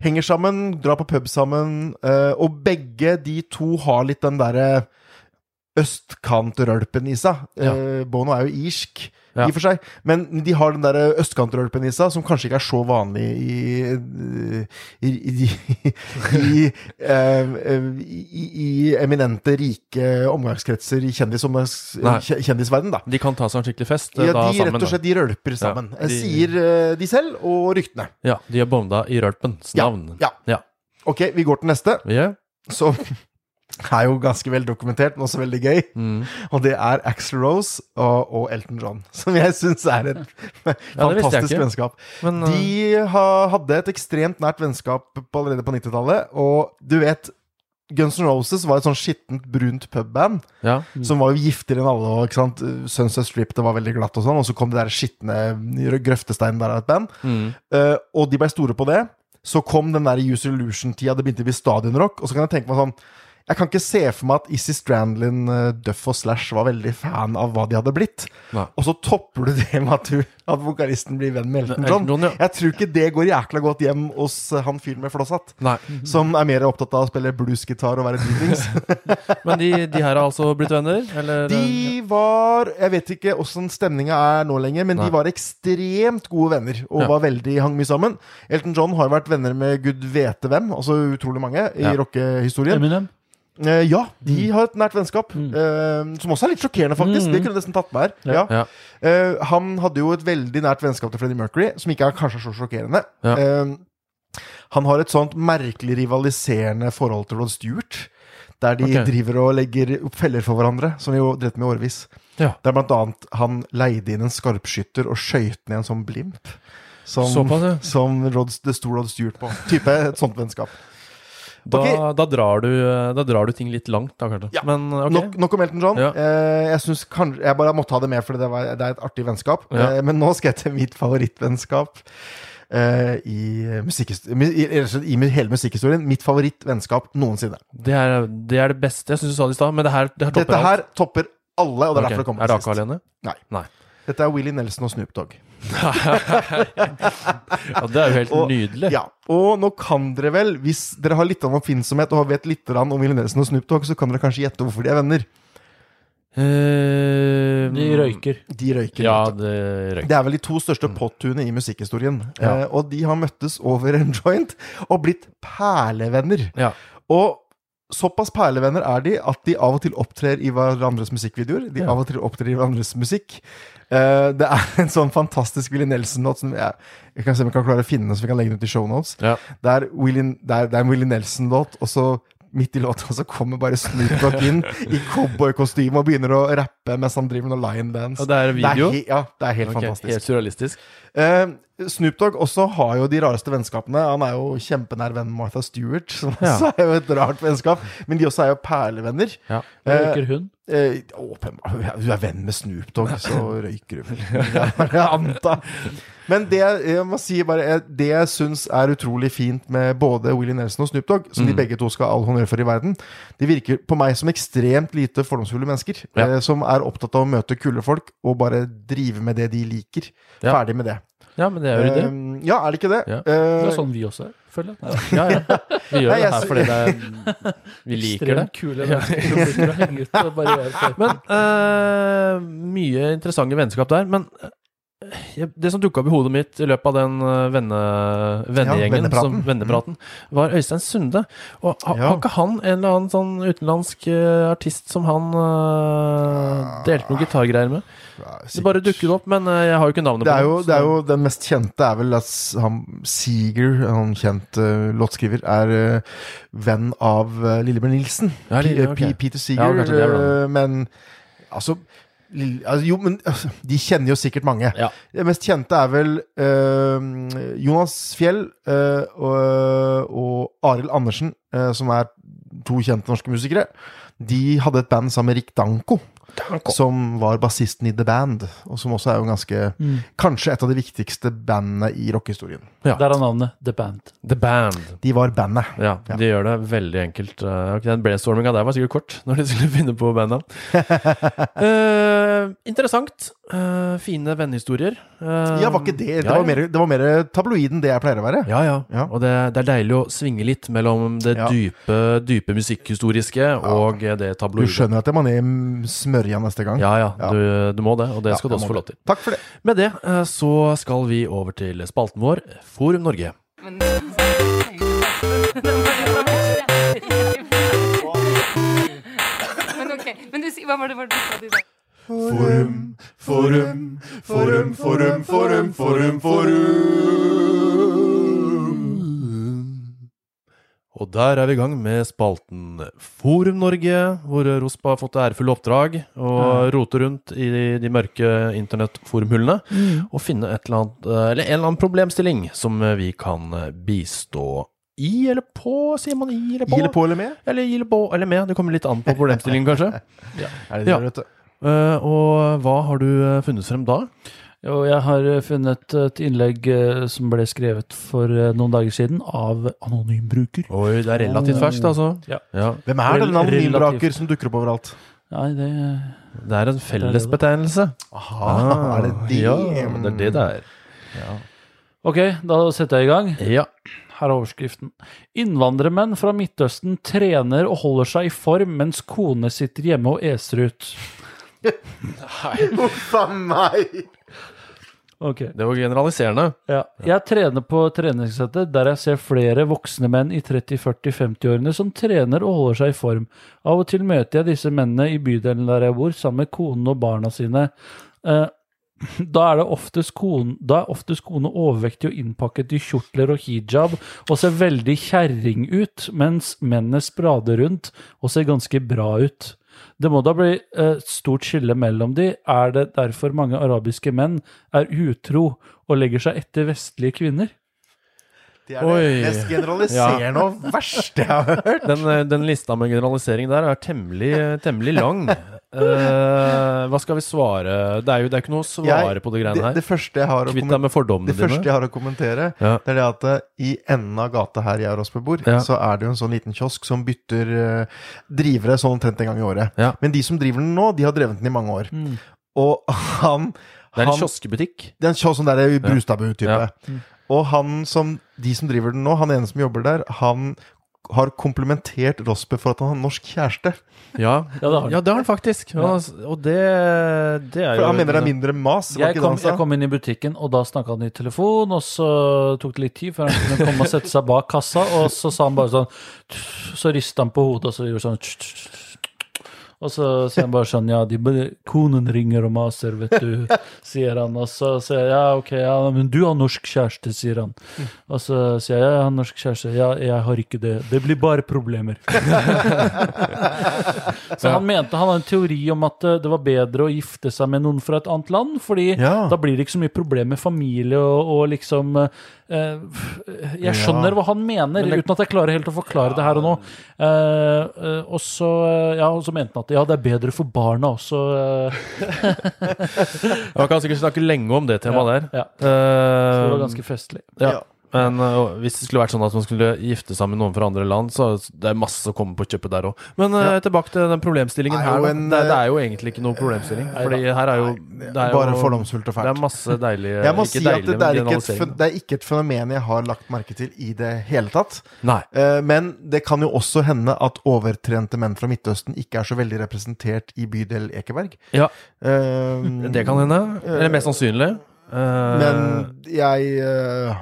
Speaker 1: henger sammen, drar på pub sammen, eh, og begge de to har litt den derre østkantrølpen i seg.
Speaker 3: Ja.
Speaker 1: Eh, Bono er jo irsk,
Speaker 3: Ja.
Speaker 1: i og for seg, men de har den derre østkantrølpen i seg, som kanskje ikke er så vanlig i i, i, i, eh, i, i eminente, rike omgangskretser i kjendisomgangs-
Speaker 3: Nei.
Speaker 1: kje- kjendisverden, da.
Speaker 3: De kan ta seg en skikkelig fest eh,
Speaker 1: Ja,
Speaker 3: da,
Speaker 1: de
Speaker 3: sammen.
Speaker 1: rett og slett de rølper sammen.
Speaker 3: Ja, de-
Speaker 1: Sier eh, de selv, og ryktene.
Speaker 3: da. Ja, de er bonda i rølpens
Speaker 1: Ja,
Speaker 3: navn.
Speaker 1: ja. Ok, vi går til neste,
Speaker 3: Ja.
Speaker 1: som er jo ganske vel dokumentert, men også veldig gøy.
Speaker 3: Mm.
Speaker 1: Og det er Axl Rose og, og Elton John, som jeg syns er et fantastisk
Speaker 3: ikke.
Speaker 1: vennskap.
Speaker 3: Men, eh,
Speaker 1: De ha, hadde et ekstremt nært vennskap på, allerede på 90-tallet, og du vet Guns N' Roses var et sånn skittent, brunt pubband
Speaker 3: ja.
Speaker 1: som var jo giftigere enn alle. Og, ikke sant? Sunset Strip det var veldig glatt, og sånn Og så kom det der skitne grøftesteinen der av et band.
Speaker 3: Mm.
Speaker 1: Eh, og de ble store på det. Så kom den der Use Illusion-tida, det begynte å bli stadionrock. Og så kan jeg tenke meg sånn Jeg kan ikke se for meg at Issy Strandlin, eh, Duff og Slash var veldig fan av hva de hadde blitt.
Speaker 3: Nei.
Speaker 1: Og så topper du det med at, du, at vokalisten blir venn med Elton John.
Speaker 3: Elton John, ja.
Speaker 1: Jeg tror ikke det går jækla godt hjem hos eh, han fyren med flosshatt.
Speaker 3: Nei.
Speaker 1: Som er mer opptatt av å spille bluesgitar og være dritings.
Speaker 3: Men de, de her har altså blitt venner? Eller?
Speaker 1: De var Jeg vet ikke åssen stemninga er nå lenger, men
Speaker 3: Nei.
Speaker 1: de var ekstremt gode venner og
Speaker 3: Ja.
Speaker 1: var veldig hang mye sammen. Elton John har jo vært venner med gud vete hvem, altså utrolig mange, i
Speaker 3: Ja.
Speaker 1: rockehistorien.
Speaker 2: Eminem.
Speaker 1: Eh, ja, de har et nært vennskap,
Speaker 2: Mm.
Speaker 1: eh, som også er litt sjokkerende, faktisk.
Speaker 2: Mm.
Speaker 1: Det kunne jeg nesten tatt med her. Ja.
Speaker 2: Ja.
Speaker 3: Ja.
Speaker 1: Eh, han hadde jo et veldig nært vennskap til Freddie Mercury, som ikke er kanskje så sjokkerende.
Speaker 3: Ja.
Speaker 1: Eh, han har et sånt merkelig rivaliserende forhold til Rod Stewart. Der de
Speaker 3: Ok.
Speaker 1: driver og legger opp feller for hverandre, som vi jo drev med i årevis.
Speaker 3: Ja.
Speaker 1: Der blant annet han leide inn en skarpskytter og skøyt ned en sånn blimp. Som,
Speaker 3: Såpass, ja.
Speaker 1: som Rod, det sto Rod Stewart på. Type et sånt vennskap.
Speaker 3: Da,
Speaker 1: Ok.
Speaker 3: da, drar du, eh, da drar du ting litt langt, da kanskje.
Speaker 1: Ja.
Speaker 3: Men eh, ok.
Speaker 1: Nok, nok om Elton John.
Speaker 3: Ja.
Speaker 1: Eh, jeg, synes kanskje, jeg bare måtte ha det med, for det, var, det er et artig vennskap.
Speaker 3: Ja.
Speaker 1: Eh, men nå skal jeg til mitt favoritt-vennskap eh, i, musikkhisto- mu- i, rett og slett i mu- hele musikkhistorien. Mitt favoritt-vennskap noensinne.
Speaker 3: Det, er, det er det beste. Jeg syns du sa det i stad, men det her, det her topper
Speaker 1: Dette her topper alle, og det er
Speaker 3: Ok.
Speaker 1: derfor det
Speaker 3: Er
Speaker 1: kommer
Speaker 3: det Aka
Speaker 1: til sist.
Speaker 3: alene?
Speaker 1: Dette er Willy Nelson og Snoop Dogg.
Speaker 3: Ja, det er jo helt
Speaker 1: Og-
Speaker 3: nydelig.
Speaker 1: Ja, Og nå kan dere vel, hvis dere har litt av oppfinnsomhet og vet litt grann om Willy Nelson og Snoop Dogg, så kan dere kanskje gjette hvorfor de er venner.
Speaker 3: Eh,
Speaker 2: De røyker.
Speaker 1: De røyker.
Speaker 3: Ja,
Speaker 1: vet du.
Speaker 3: det røyker.
Speaker 1: Det er vel de to største pottuene i musikkhistorien.
Speaker 3: Mm. Ja.
Speaker 1: Eh, og de har møttes over en joint og blitt perlevenner.
Speaker 3: Ja.
Speaker 1: Og såpass perlevenner er de at de av og til opptrer i hverandres musikkvideoer. De
Speaker 3: Ja.
Speaker 1: av og til opptrer i hverandres musikk. Eh, det er en sånn fantastisk Willy Nelson-låt som jeg, jeg kan se om jeg kan klare å finne den, så vi kan legge den ut i shownotes.
Speaker 3: Ja.
Speaker 1: Det er, Willy, det, er, det er en Willy Nelson-låt, og så midt i låta så kommer bare Snoop Dogg inn i cowboykostyme og begynner å rappe mens han driver med noe line dance.
Speaker 3: Og det er video.
Speaker 1: Det er he- ja, det er helt
Speaker 3: Ok,
Speaker 1: fantastisk.
Speaker 3: Helt surrealistisk.
Speaker 1: Eh, Snoop Dogg også har jo de rareste vennskapene. Han er jo kjempenær venn med Martha Stewart, som
Speaker 3: Ja.
Speaker 1: også er jo et rart vennskap. Men de også er jo perlevenner.
Speaker 3: Ja.
Speaker 1: Eh,
Speaker 2: Røyker hun.
Speaker 1: eh, åpenbart. Ja, Du er venn med Snoop Dogg, så røyker du vel. Jeg antar. Men det jeg må si bare eh, Det jeg syns er utrolig fint med både Willy Nelson og Snoop Dogg, som
Speaker 3: Mm.
Speaker 1: de begge to skal ha all honnør for i verden, de virker på meg som ekstremt lite fordomsfulle mennesker.
Speaker 3: Ja.
Speaker 1: eh, Som er opptatt av å møte kule folk og bare drive med det de liker.
Speaker 3: Ja.
Speaker 1: Ferdig med det.
Speaker 3: Ja, men det er jo det.
Speaker 1: Um, ja, er det ikke det?
Speaker 3: Ja.
Speaker 2: Det
Speaker 1: Eh,
Speaker 2: er sånn vi også er, føler jeg.
Speaker 3: Ja, ja. Vi gjør det
Speaker 1: Nei, jeg
Speaker 3: her
Speaker 1: sy-
Speaker 3: fordi det er, vi liker det.
Speaker 2: Ekstremt kule mennesker som liker å henge ut og sånn. variere folk.
Speaker 3: Men eh, mye interessante vennskap der. Men eh, jeg- det som dukka opp i hodet mitt i løpet av den eh, venne, vennegjengen,
Speaker 1: vennepraten.
Speaker 3: som, vennepraten, var Øystein Sunde. Og ha,
Speaker 1: Ja.
Speaker 3: Har ikke han en eller annen sånn utenlandsk eh, artist som han eh, delte noen gitargreier med?
Speaker 1: ja,
Speaker 3: Det bare dukket opp, men eh, jeg har jo ikke navnet
Speaker 1: det er,
Speaker 3: på
Speaker 1: jo,
Speaker 3: så-
Speaker 1: det er jo Den mest kjente er vel at s- han, Seeger, han kjent eh, låtskriver, er eh, venn av eh, Lillebjørn Nilsen.
Speaker 3: Ja,
Speaker 1: P-
Speaker 3: Lille- ok.
Speaker 1: P- Peter
Speaker 3: Ja,
Speaker 1: Seeger.
Speaker 3: kanskje det er det.
Speaker 1: eh, men altså, Lill- altså Jo, men altså, de kjenner jo sikkert mange.
Speaker 3: Ja.
Speaker 1: Det mest kjente er vel eh, Jonas Fjell eh, og, og Arild Andersen, eh, som er to kjente norske musikere. De hadde et band sammen med Rick Danko, som var bassisten i The Band. Og som også er jo ganske
Speaker 3: Mm.
Speaker 1: Kanskje et av de viktigste bandene i rockehistorien.
Speaker 2: Der er navnet The Band.
Speaker 3: The Band.
Speaker 1: De var bandet.
Speaker 3: Ja,
Speaker 1: Ja.
Speaker 3: de gjør det veldig enkelt. Eh, ok, den brainstorminga der var sikkildent kort, når de skulle finne på bandnavn. Eh, interessant. eh, fine vennehistorier. Eh,
Speaker 1: Ja, var ikke det Det
Speaker 3: ja,
Speaker 1: var
Speaker 3: ja.
Speaker 1: mer, det var mer tabloiden det jeg pleier å være.
Speaker 3: Ja, ja.
Speaker 1: Ja.
Speaker 3: Og det, det er deilig å svinge litt mellom det
Speaker 1: Ja.
Speaker 3: dype, dype musikkhistoriske og eh, det
Speaker 1: Du
Speaker 3: tabloide.
Speaker 1: skjønner at jeg må ned i mm, smørja neste gang.
Speaker 3: Ja, ja.
Speaker 1: Ja.
Speaker 3: Du, du må det, og det
Speaker 1: Ja,
Speaker 3: skal
Speaker 1: jeg
Speaker 3: du også
Speaker 1: må
Speaker 3: få lov til.
Speaker 1: Takk for det.
Speaker 3: Med det eh, så skal vi over til spalten vår, Forum Norge.
Speaker 4: Men Men ok. Men du, si- hva var det, hva var det du sa du sa?
Speaker 1: Forum, forum, forum, forum, forum, forum, forum.
Speaker 3: Og der er vi i gang med spalten Forum Norge, hvor Rospa har fått det ærefulle oppdrag å rote rundt i de, de mørke internettforumhullene og finne et eller annet, eh, eller en eller annen problemstilling som eh, vi kan eh, bistå i eller på, sier man. I eller på?
Speaker 1: Gir det på eller med?
Speaker 3: Eller i eller på, eller med. Det kommer litt an på problemstillingen, kanskje.
Speaker 1: Er det
Speaker 3: Ja.
Speaker 1: det, vet du?
Speaker 3: Eh, og hva har du eh, funnet frem da?
Speaker 2: Jo, jeg har eh, funnet et innlegg eh, som ble skrevet for eh, noen dager siden av anonym bruker.
Speaker 3: Oi, det er relativt ferskt, altså.
Speaker 2: Ja.
Speaker 3: ja.
Speaker 1: Hvem er
Speaker 2: Rel-
Speaker 1: denne anonymbraker
Speaker 2: relativt.
Speaker 1: som dukker opp overalt?
Speaker 2: Nei, det
Speaker 3: Det er en fellesbetegnelse.
Speaker 1: Aha, er det de?
Speaker 3: Ah, Ja, det er det det er.
Speaker 2: Ok, da setter jeg i gang.
Speaker 3: Ja.
Speaker 2: Her er overskriften. Innvandrermenn fra Midtøsten trener og holder seg i form mens kone sitter hjemme og eser ut.
Speaker 1: Huff a meg!
Speaker 2: Ok.
Speaker 3: Det var generaliserende.
Speaker 2: Ja. Jeg trener på treningssettet der jeg ser flere voksne menn i 30-40-50-årene som trener og holder seg i form. Av og til møter jeg disse mennene i bydelen der jeg bor, sammen med konen og barna sine. Eh, Da er, det oftest kone, da er oftest kone overvektig og innpakket i kjortler og hijab og ser veldig kjerring ut, mens mennene sprader rundt og ser ganske bra ut. Det må da bli et stort skille mellom de. Er det derfor mange arabiske menn er utro og legger seg etter vestlige kvinner?
Speaker 1: Det er
Speaker 3: Oi.
Speaker 1: det mest generaliserende og verste jeg har hørt.
Speaker 3: Den, eh, den lista med generalisering der er temmelig, temmelig lang. Eh, hva skal vi svare? Det er jo det er ikke noe å svare
Speaker 1: Jeg-
Speaker 3: på de greiene
Speaker 1: Det,
Speaker 3: her.
Speaker 1: det, første jeg har å
Speaker 3: Kvitt deg
Speaker 1: kommentere,
Speaker 3: med fordommene
Speaker 1: det første
Speaker 3: dine.
Speaker 1: jeg har å kommentere,
Speaker 3: Ja.
Speaker 1: det er det at eh, i enden av gata her jeg og Rospe bor,
Speaker 3: Ja.
Speaker 1: så er det jo en sånn liten kiosk som bytter eh, drivere sånn omtrent en gang i året.
Speaker 3: Ja.
Speaker 1: Men de som driver den nå, de har drevet den i mange år. Og han
Speaker 3: Det er en
Speaker 1: han-
Speaker 3: kioskebutikk.
Speaker 1: Det er en kiosk sånn der Brustadbu-type.
Speaker 3: Ja.
Speaker 1: Og han som, de som driver den nå, han ene som jobber der, han har komplimentert Rospe for at han har norsk kjæreste.
Speaker 3: Ja,
Speaker 2: Ja, det har den.
Speaker 3: ja, det har den faktisk. Ja, og det, det er jo
Speaker 1: For han mener det er mindre mas. var
Speaker 2: Jeg
Speaker 1: ikke
Speaker 2: kom,
Speaker 1: det
Speaker 2: jeg
Speaker 1: han sa?
Speaker 2: kom inn i butikken, og da snakka han i telefon. Og så tok det litt tid før han kunne komme og sette seg bak kassa, og så sa han bare sånn Så rista han på hodet, og så gjorde han sånn og så sier han bare sånn Ja, de, bare- konen ringer og maser, vet du, sier han. Og så sier jeg ja, ok, ja, men du har norsk kjæreste, sier han. Og så sier jeg ja, jeg har norsk kjæreste. Ja, jeg har ikke det. Det blir bare problemer. så han mente han har en teori om at eh, det var bedre å gifte seg med noen fra et annet land, fordi
Speaker 1: Ja.
Speaker 2: da blir det ikke så mye problem med familie og, og liksom eh, eh, Jeg skjønner hva han mener, uten at jeg klarer helt å forklare det her og nå. Eh, eh, og så eh, ja, og så mente han at ja, det er bedre for barna også. eh,
Speaker 3: Man kan sikkert snakke lenge om det temaet der.
Speaker 2: ja. Så det var
Speaker 3: Eh,
Speaker 2: ganske festlig.
Speaker 3: ja. Men eh, hvis det skulle vært sånn at man skulle gifte seg med noen fra andre land, så det er masse å komme på kjøpet der òg. Men eh, tilbake til den problemstillingen
Speaker 1: Er
Speaker 3: her.
Speaker 1: jo
Speaker 3: da.
Speaker 1: en,
Speaker 3: det, det
Speaker 1: eh,
Speaker 3: er jo egentlig ikke noe problemstilling. Fordi her er jo det er
Speaker 1: Bare
Speaker 3: jo-
Speaker 1: fordomsfullt og
Speaker 3: Det er
Speaker 1: fælt.
Speaker 3: masse deilige
Speaker 1: Jeg må
Speaker 3: Ikke
Speaker 1: si at
Speaker 3: deilige,
Speaker 1: det,
Speaker 3: men
Speaker 1: det, er ikke et,
Speaker 3: generaliseringer.
Speaker 1: fen- det er ikke et fenomen jeg har lagt merke til i det hele tatt.
Speaker 3: Nei.
Speaker 1: Eh, Men det kan jo også hende at overtrente menn fra Midtøsten ikke er så veldig representert i bydel Ekeberg.
Speaker 3: Ja,
Speaker 1: Eh,
Speaker 3: det kan hende. Eller mest sannsynlig. Eh,
Speaker 1: Men jeg eh,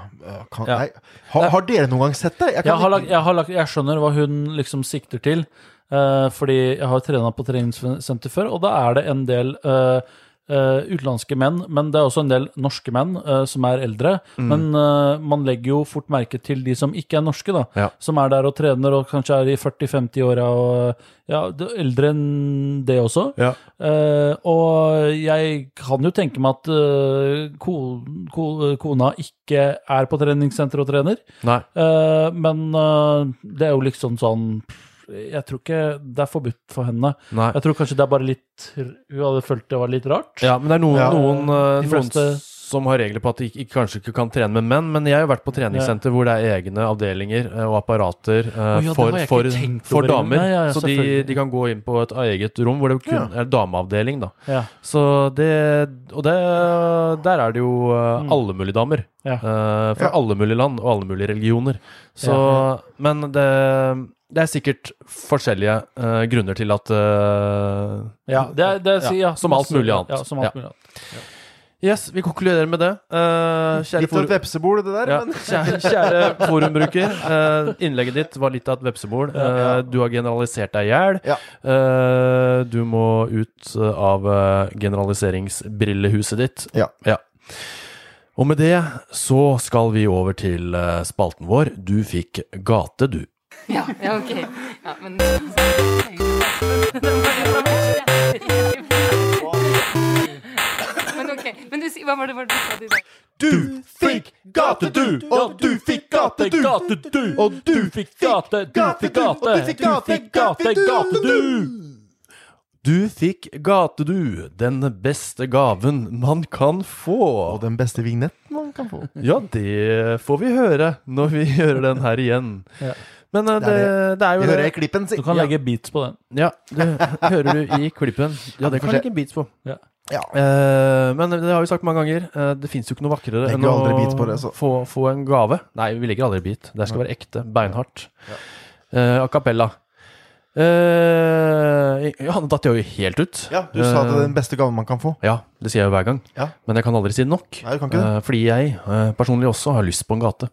Speaker 1: kan,
Speaker 3: Ja.
Speaker 1: nei. Har, har dere noen gang sett det? Jeg kan
Speaker 2: Jeg, har
Speaker 1: ikke-
Speaker 2: lagt, jeg, har lagt, jeg skjønner hva hun liksom sikter til, eh, fordi jeg har trena på treningssenter før, og da er det en del eh, eh, utenlandske menn, men det er også en del norske menn eh, som er eldre.
Speaker 3: Mm.
Speaker 2: Men eh, man legger jo fort merke til de som ikke er norske, da.
Speaker 3: Ja.
Speaker 2: Som er der og trener og kanskje er i 40-50-åra og ja, det- eldre enn det også.
Speaker 3: ja.
Speaker 2: Eh, og jeg kan jo tenke meg at eh, ko, ko, kona ikke er på treningssenter og trener.
Speaker 3: Nei.
Speaker 2: Eh, men eh, det er jo liksom sånn Jeg tror ikke det er forbudt for henne.
Speaker 3: Nei.
Speaker 2: Jeg tror kanskje det er bare litt Hun hadde følt det var litt rart.
Speaker 3: Ja, men det er noen,
Speaker 1: Ja.
Speaker 3: noen, eh,
Speaker 2: De
Speaker 3: noen
Speaker 2: fleste-
Speaker 3: som har regler på at de ikke, kanskje ikke kan trene med menn, men jeg har vært på treningssenter hvor det er egne avdelinger eh, og apparater eh,
Speaker 2: ja, det
Speaker 3: for,
Speaker 2: har jeg ikke
Speaker 3: for,
Speaker 2: tenkt over
Speaker 3: for
Speaker 2: engang.
Speaker 3: damer.
Speaker 2: Nei, ja, ja,
Speaker 3: så de,
Speaker 2: selvfølgelig.
Speaker 3: de kan gå inn på et eget rom hvor det kun er dameavdeling, da.
Speaker 2: Ja.
Speaker 3: Så det Og det, der er det jo eh, alle mulige damer.
Speaker 2: Mm. Ja.
Speaker 3: eh, fra alle mulige land og alle mulige religioner. Så Men det, det er sikkert forskjellige eh, grunner til at eh,
Speaker 2: Ja, det, er- det, er-
Speaker 3: Ja,
Speaker 2: ja,
Speaker 3: som alt mulig annet.
Speaker 2: Ja, som alt
Speaker 3: Ja.
Speaker 2: mulig annet.
Speaker 3: Yes, vi konkluderer med det. Eh, kjære
Speaker 1: Litt av
Speaker 3: for...
Speaker 1: et vepsebol, det der.
Speaker 3: Ja,
Speaker 1: Men
Speaker 3: kjære, kjære forumbruker. eh, innlegget ditt var litt av et vepsebol. Eh, du har generalisert deg i hjel.
Speaker 1: Ja.
Speaker 3: Eh, du må ut eh, av eh, generaliseringsbrillehuset ditt.
Speaker 1: Ja.
Speaker 3: Og med det så skal vi over til eh, spalten vår. Du fikk gate, du.
Speaker 4: Ja, ja, ok. Ja, men Men ok, men du, si- hva var det, hva var det du sa til deg?
Speaker 1: du fikk gate, du! Og du fikk gate, du!
Speaker 2: Gate, du!
Speaker 1: Og du
Speaker 2: fikk gate, du fikk gate,
Speaker 1: Og du fikk gate, gate, gate, du!
Speaker 3: Du fikk gate, du. Den beste gaven man kan få.
Speaker 1: Og den beste vignetten man kan få.
Speaker 3: Ja, det får vi høre når vi gjør den her igjen.
Speaker 2: Ja.
Speaker 3: Men eh,
Speaker 1: Det er
Speaker 3: det, det er
Speaker 1: Vi
Speaker 3: jo
Speaker 1: hører
Speaker 3: det
Speaker 1: i klippen, si.
Speaker 2: Du kan
Speaker 3: Ja.
Speaker 2: legge beats på den.
Speaker 3: Ja, det hører du i klippen. Ja, det kan
Speaker 1: Kanskje-
Speaker 3: jeg ikke beats på.
Speaker 2: Ja.
Speaker 1: Ja.
Speaker 3: Eh, men det har vi sagt mange ganger, eh, det fins jo ikke noe vakrere
Speaker 1: Legger
Speaker 3: enn å
Speaker 1: aldri beat på det, så.
Speaker 3: få, få en gave. Nei, vi legger aldri beat. Det skal være ekte, beinhardt. Eh, a cappella. Eh, ja, nå datt jeg jo helt ut.
Speaker 1: Ja, du sa at det
Speaker 3: Eh,
Speaker 1: er den beste gaven man kan få.
Speaker 3: Ja, det sier jeg jo hver gang.
Speaker 1: Ja.
Speaker 3: Men jeg kan aldri si det nok.
Speaker 1: Nei, du kan ikke det.
Speaker 3: Eh, fordi jeg eh, personlig også har lyst på en gate.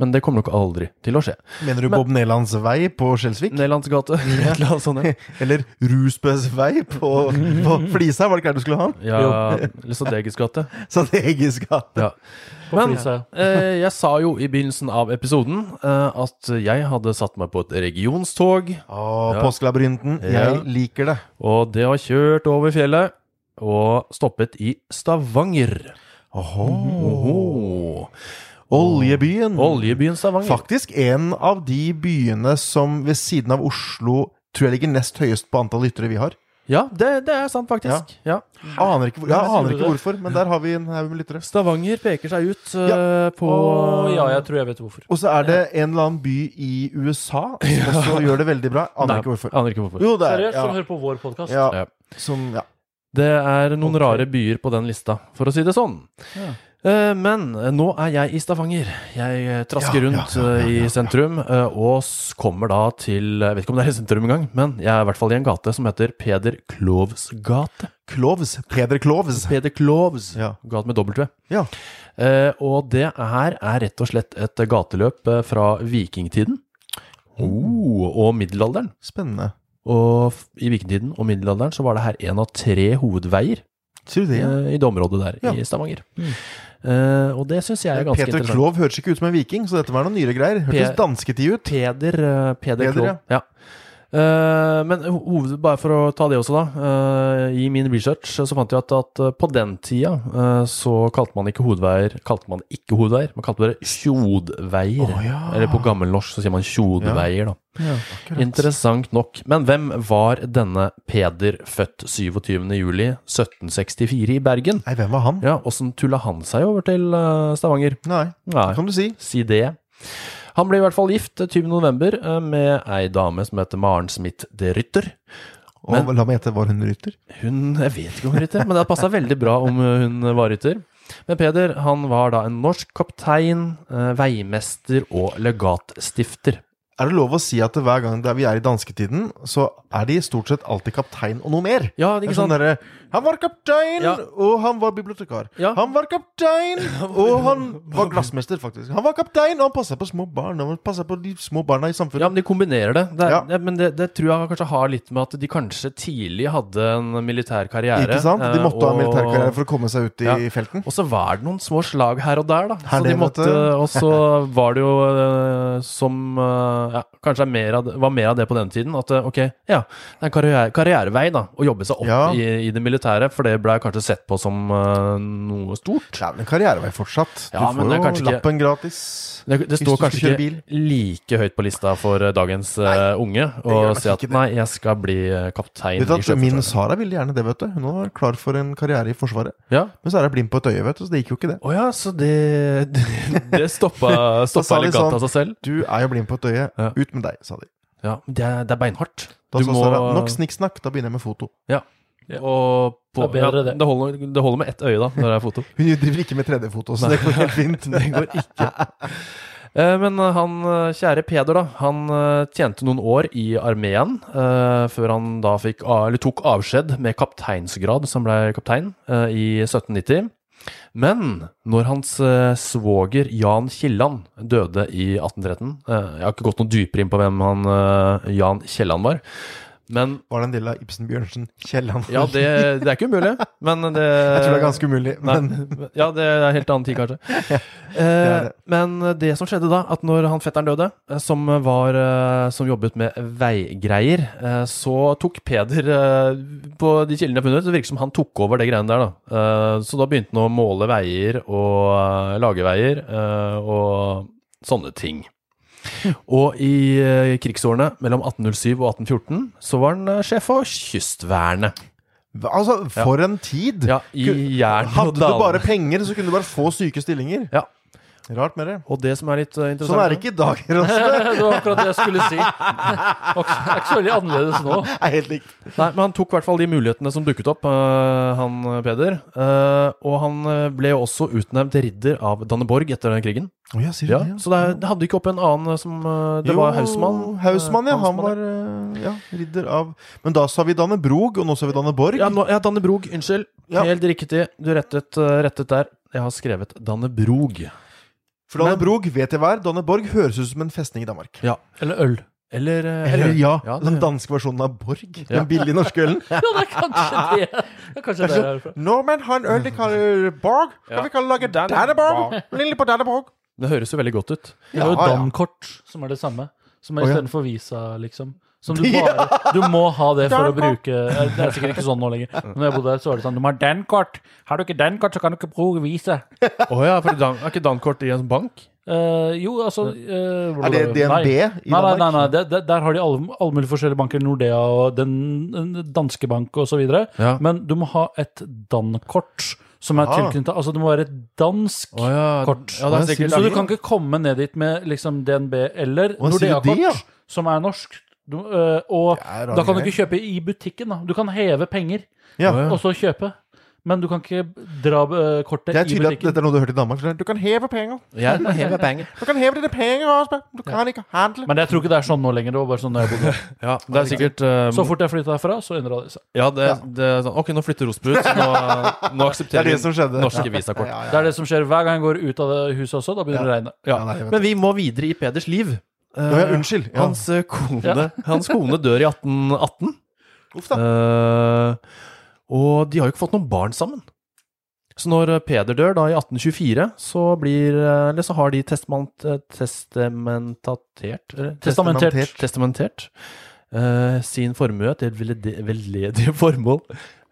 Speaker 3: Men det kommer nok aldri til å skje.
Speaker 1: Mener du Bob Nelands vei på Skjelsvik?
Speaker 3: Nelands gate. Et eller annet sånt. ja.
Speaker 1: Eller Rusbøs vei på, på Flisa? Var det ikke der du skulle ha den?
Speaker 3: Ja, eller Strategisk gate.
Speaker 1: Strategisk gate.
Speaker 3: Ja.
Speaker 2: På
Speaker 3: Men-
Speaker 2: flisa, ja.
Speaker 3: Eh, jeg sa jo i begynnelsen av episoden eh, at jeg hadde satt meg på et regionstog,
Speaker 1: Å,
Speaker 3: Ja.
Speaker 1: påskelabyrinten.
Speaker 3: Ja.
Speaker 1: Jeg liker det.
Speaker 3: og det har kjørt over fjellet og stoppet i Stavanger.
Speaker 1: Åhå.
Speaker 3: Oho.
Speaker 1: Oljebyen.
Speaker 3: Oljebyen Stavanger.
Speaker 1: Faktisk en av de byene som ved siden av Oslo tror jeg ligger nest høyest på antall lyttere vi har.
Speaker 3: Ja, det, det er sant, faktisk. Ja.
Speaker 1: Aner ikke, hvor, jeg
Speaker 2: Sier
Speaker 1: aner
Speaker 2: du
Speaker 1: ikke
Speaker 2: det?
Speaker 1: hvorfor, men der har vi en haug med lyttere.
Speaker 3: Stavanger peker seg ut eh, på
Speaker 2: Å ja, jeg tror jeg vet hvorfor.
Speaker 1: Og så er det en eller annen by i USA som også gjør det veldig bra.
Speaker 3: Nei,
Speaker 1: Aner ikke hvorfor.
Speaker 3: Aner ikke hvorfor.
Speaker 1: Jo, det er
Speaker 2: Seriøst, som
Speaker 1: ja,
Speaker 2: hører på vår podkast.
Speaker 1: ja,
Speaker 3: Ja.
Speaker 1: som, ja.
Speaker 3: Det er noen
Speaker 2: Ok.
Speaker 3: rare byer på den lista, for å si det sånn.
Speaker 2: Ja.
Speaker 3: Eh, Men nå er jeg i Stavanger. Jeg eh, trasker
Speaker 1: Ja, ja,
Speaker 3: rundt
Speaker 1: ja, ja,
Speaker 3: eh,
Speaker 1: ja, ja.
Speaker 3: i sentrum eh, og s- kommer da til eh, Jeg vet ikke om det er i sentrum engang, men jeg er i hvert fall i en gate som heter Peder Klovs gate.
Speaker 1: Kloves. Peder Kloves.
Speaker 3: Peder Klovs
Speaker 1: Ja.
Speaker 3: gate med W.
Speaker 1: Ja.
Speaker 3: Eh, Og det her er rett og slett et gateløp eh, fra vikingtiden oh, og middelalderen.
Speaker 1: Spennende.
Speaker 3: Og f- i vikingtiden og middelalderen så var det her en av tre hovedveier
Speaker 1: Tror du det?
Speaker 3: eh, i det området der
Speaker 1: Ja. Mm.
Speaker 3: i Stavanger. Eh, og det syns jeg er ganske
Speaker 1: Peter
Speaker 3: interessant.
Speaker 1: Klov høres ikke ut som en viking, så dette var noen nyere greier. Hørtes
Speaker 3: Pe-
Speaker 1: dansketid ut.
Speaker 3: Peder, eh, Peder
Speaker 1: Peder,
Speaker 3: Klo.
Speaker 1: ja.
Speaker 3: Ja. Eh, men ho- hoved, bare for å ta det også, da. eh, I min research så fant jeg at, at eh, på den tida eh, så kalte man ikke hovedveier Kalte man ikke hovedveier, man kalte det tjodveier.
Speaker 1: Å, ja.
Speaker 3: Eller på gammelnorsk så sier man tjodveier, da.
Speaker 1: akkurat.
Speaker 3: Interessant nok. Men hvem var denne Peder, født 27.07.1764 i Bergen?
Speaker 1: Nei, hvem var han?
Speaker 3: Ja, åssen tulla han seg over til eh, Stavanger?
Speaker 1: Nei,
Speaker 3: Nei.
Speaker 1: kan du si.
Speaker 3: Si det. Han ble i hvert fall gift eh, 20.11. med ei dame som heter Maren Smith de Rytter.
Speaker 1: Og la meg gjette, var hun rytter?
Speaker 3: Hun, Jeg vet ikke om hun rytter, men det hadde passa veldig bra om eh, hun var rytter. Men Peder han var da en norsk kaptein, eh, veimester og legatstifter.
Speaker 1: Er det lov å si at hver gang det er- vi er i dansketiden, så er de stort sett alltid kaptein og noe mer?
Speaker 3: Ja,
Speaker 1: Det
Speaker 3: ikke
Speaker 1: er sånn
Speaker 3: sant?
Speaker 1: derre Han var kaptein,
Speaker 3: Ja.
Speaker 1: og han var bibliotekar.
Speaker 3: Ja.
Speaker 1: Han var kaptein, og han var glassmester, faktisk. Han var kaptein, og han passa på små barn. Og han passa på de små barna i
Speaker 3: Ja,
Speaker 1: samfunnet.
Speaker 3: men de kombinerer det. det, er,
Speaker 1: Ja.
Speaker 3: det men det, det tror jeg kanskje har litt med at de kanskje tidlig hadde en militær karriere.
Speaker 1: Ikke sant? De
Speaker 3: eh,
Speaker 1: måtte ha
Speaker 3: og-
Speaker 1: militærkarriere for å komme seg ut i
Speaker 3: Ja.
Speaker 1: felten.
Speaker 3: Og så var det noen små slag her og der, da.
Speaker 1: Her
Speaker 3: så de
Speaker 1: det, vet
Speaker 3: måtte,
Speaker 1: du.
Speaker 3: og så var det jo eh, som eh, eh, ja, kanskje er mer av det, var mer av det på denne tiden. At eh, ok, ja, det er karriere, karrierevei da, å jobbe seg opp
Speaker 1: Ja.
Speaker 3: i, i det militære, for det ble kanskje sett på som eh, noe stort.
Speaker 1: Det er vel en karrierevei fortsatt.
Speaker 3: Ja,
Speaker 1: du
Speaker 3: men
Speaker 1: får
Speaker 3: det er
Speaker 1: jo
Speaker 3: kanskje ikke-
Speaker 1: lappen gratis.
Speaker 3: Det, det
Speaker 1: Hvis
Speaker 3: står
Speaker 1: du skal
Speaker 3: kanskje
Speaker 1: kjøre bil.
Speaker 3: ikke like høyt på lista for eh, dagens eh, unge å
Speaker 1: gjør nok
Speaker 3: si at
Speaker 1: ikke det.
Speaker 3: nei, jeg skal bli eh, kaptein
Speaker 1: Vet du
Speaker 3: i
Speaker 1: at Min
Speaker 3: Sjøforsvaret.
Speaker 1: Sara ville gjerne det, vet du. Hun var klar for en karriere i Forsvaret.
Speaker 3: Ja.
Speaker 1: Men så er hun blind på et øye, vet du, så det gikk jo ikke det.
Speaker 3: Å ja, så det Det stoppa,
Speaker 1: sa
Speaker 3: stoppa
Speaker 1: de
Speaker 3: elegant
Speaker 1: sånn,
Speaker 3: av seg selv?
Speaker 1: Du er jo blind på et øye.
Speaker 3: Ja.
Speaker 1: Ut med deg, sa de.
Speaker 3: Ja, men det er, det er beinhardt.
Speaker 1: Da
Speaker 3: Du
Speaker 1: sa
Speaker 3: må-
Speaker 1: Sara nok snikksnakk, da begynner jeg med foto.
Speaker 3: Og på,
Speaker 2: Det er bedre,
Speaker 3: ja,
Speaker 2: det.
Speaker 3: det, holder, det holder med ett øye, da, når det er foto.
Speaker 1: Hun driver ikke med 3D-foto, så det går helt fint.
Speaker 3: Det går ikke. Eh, Men han eh, kjære Peder, da, han eh, tjente noen år i armeen eh, før han da fikk, a- eller tok avskjed med kapteinsgrad, som ble kaptein, eh, i 1790. Men når hans eh, svoger Jan Kielland døde i 1813 eh, Jeg har ikke gått noe dypere inn på hvem han eh, Jan Kielland var. Men
Speaker 1: Var det en del av Ibsen Bjørnsen Kielland?
Speaker 3: ja, det, det er ikke umulig. Men det
Speaker 1: Jeg tror det er ganske umulig, men
Speaker 3: Nei. Ja, det er en helt annen tid, kanskje.
Speaker 1: er
Speaker 3: Eh, men det som skjedde da, at når han fetteren døde, eh, som, var, eh, som jobbet med veigreier, eh, så tok Peder eh, På de kildene jeg har funnet, så virker det som han tok over det greiene der, da. Eh, så da begynte han å måle veier og eh, lage veier eh, og sånne ting. Og i eh, krigsårene mellom 1807 og 1814 så var han eh, sjef for Kystvernet.
Speaker 1: altså, for en tid!
Speaker 3: Ja, i jern og
Speaker 1: Hadde du
Speaker 3: dal.
Speaker 1: bare penger, så kunne du bare få syke stillinger.
Speaker 3: Ja.
Speaker 1: Rart med det.
Speaker 3: Og det som er litt eh, interessant
Speaker 1: Sånn er det ikke i dag, altså. Rasmus.
Speaker 2: det var akkurat det jeg skulle si. Det var ikke det er ikke så veldig annerledes nå.
Speaker 1: Det er helt likt.
Speaker 3: Nei, men han tok i hvert fall de mulighetene som dukket opp, eh, han eh, Peder. Eh, og han eh, ble jo også utnevnt ridder av Danneborg etter den krigen.
Speaker 1: Å ja, sier du
Speaker 3: Ja,
Speaker 1: det? ja.
Speaker 3: så det, er, det hadde ikke opp en annen eh, som eh, Det
Speaker 1: Jo,
Speaker 3: var Hausmann. eh,
Speaker 1: Hausmann, ja. Han
Speaker 3: Hansmann,
Speaker 1: var eh, ja, ridder av Men da sa vi Dannebrog, og nå sa vi Danneborg.
Speaker 3: Ja, nå, ja Dannebrog. Unnskyld.
Speaker 1: Ja.
Speaker 3: Helt riktig. Du rettet, eh, rettet der. Jeg har skrevet Dannebrog.
Speaker 1: For Dannebrog vet jeg hva er. Danneborg høres ut som en festning i Danmark.
Speaker 2: Eller øl.
Speaker 3: Eller, eh,
Speaker 1: Eller ja, den
Speaker 3: det-
Speaker 1: danske versjonen av Borg. Den billige norske ølen.
Speaker 2: Ja, det er kanskje det. Det er kanskje det jeg er fra.
Speaker 1: Nordmenn har en øl de kaller Borg. Skal
Speaker 3: Ja.
Speaker 1: vi kalle lage Danneborg? Lille på Danneborg.
Speaker 3: det høres jo veldig godt ut.
Speaker 2: Det er jo
Speaker 1: Ja, ja.
Speaker 2: Dankort, som er det samme. Som
Speaker 1: Å,
Speaker 2: er
Speaker 1: ja.
Speaker 2: istedenfor visa, liksom. Som du, bare, du må ha det for å
Speaker 1: Dankort.
Speaker 2: bruke Det er sikkert ikke sånn nå lenger. Men Når jeg bodde der, så var det sånn Du må ha dankort. Har du ikke dankort, så kan du ikke bruke visa.
Speaker 3: Å ja, for Dan, er ikke Dankort i en bank?
Speaker 2: Eh, jo, altså eh,
Speaker 1: Er det DNB
Speaker 2: Nei.
Speaker 1: i
Speaker 2: Nei, nei,
Speaker 1: Danmark?
Speaker 2: nei, nei. Det, det, der har de alle, alle mulige forskjellige banker. Nordea og den, den danske bank og så videre.
Speaker 3: Ja.
Speaker 2: Men du må ha et Dan-kort som er
Speaker 1: Ah.
Speaker 2: tilknyttet Altså, det må være et dansk
Speaker 3: Å ja.
Speaker 2: kort.
Speaker 3: Ja, det er
Speaker 1: sånn,
Speaker 3: sikkert
Speaker 2: så du kan ikke komme ned dit med liksom DNB eller
Speaker 1: Å, sier du det,
Speaker 2: Nordea-kort,
Speaker 1: ja?
Speaker 2: som er norsk. Du, øh, og
Speaker 1: Det er rare
Speaker 2: da kan du
Speaker 1: greier.
Speaker 2: ikke kjøpe i butikken. da. Du kan heve penger
Speaker 1: Ja.
Speaker 3: Å, ja.
Speaker 2: og så kjøpe. Men du kan ikke dra øh, kortet
Speaker 1: Det er
Speaker 2: i
Speaker 1: tydelig at
Speaker 2: butikken.
Speaker 1: dette er noe du hørte i Danmark. så det er, Du kan heve penger.
Speaker 3: Ja, det er hele poenget.
Speaker 1: Du kan heve dine penger, Asbjørn. Du kan ikke handle.
Speaker 2: Men jeg tror ikke det er sånn nå lenger. Det var bare sånn da jeg bodde.
Speaker 3: Ja, det er sikkert eh,
Speaker 2: Så fort jeg flytta herfra, så endra det seg.
Speaker 3: Ja, det, det er sånn Ok, nå flytter Rosbu ut. så Nå, nå
Speaker 1: Det er
Speaker 3: aksepterer
Speaker 1: det som
Speaker 3: vi
Speaker 1: skjedde.
Speaker 3: norske visakort.
Speaker 1: Ja,
Speaker 2: Det er det som skjer hver gang jeg går ut av det huset også. Da begynner det å regne.
Speaker 3: Ja.
Speaker 1: Ja, nei, jeg vet
Speaker 3: Men vi må videre i Peders liv. Eh,
Speaker 1: Å, ja, unnskyld. Ja.
Speaker 3: Hans, eh, kone,
Speaker 2: Ja.
Speaker 3: hans kone dør i 1818.
Speaker 1: Uff da.
Speaker 3: Eh, og de har jo ikke fått noen barn sammen. Så når eh, Peder dør da i 1824, så, blir, eh, eller så har de testament, eh, testamentatert eller?
Speaker 2: Testamentert.
Speaker 1: Testamentert.
Speaker 3: testamentert eh, sin formue til velede- veldedige formål.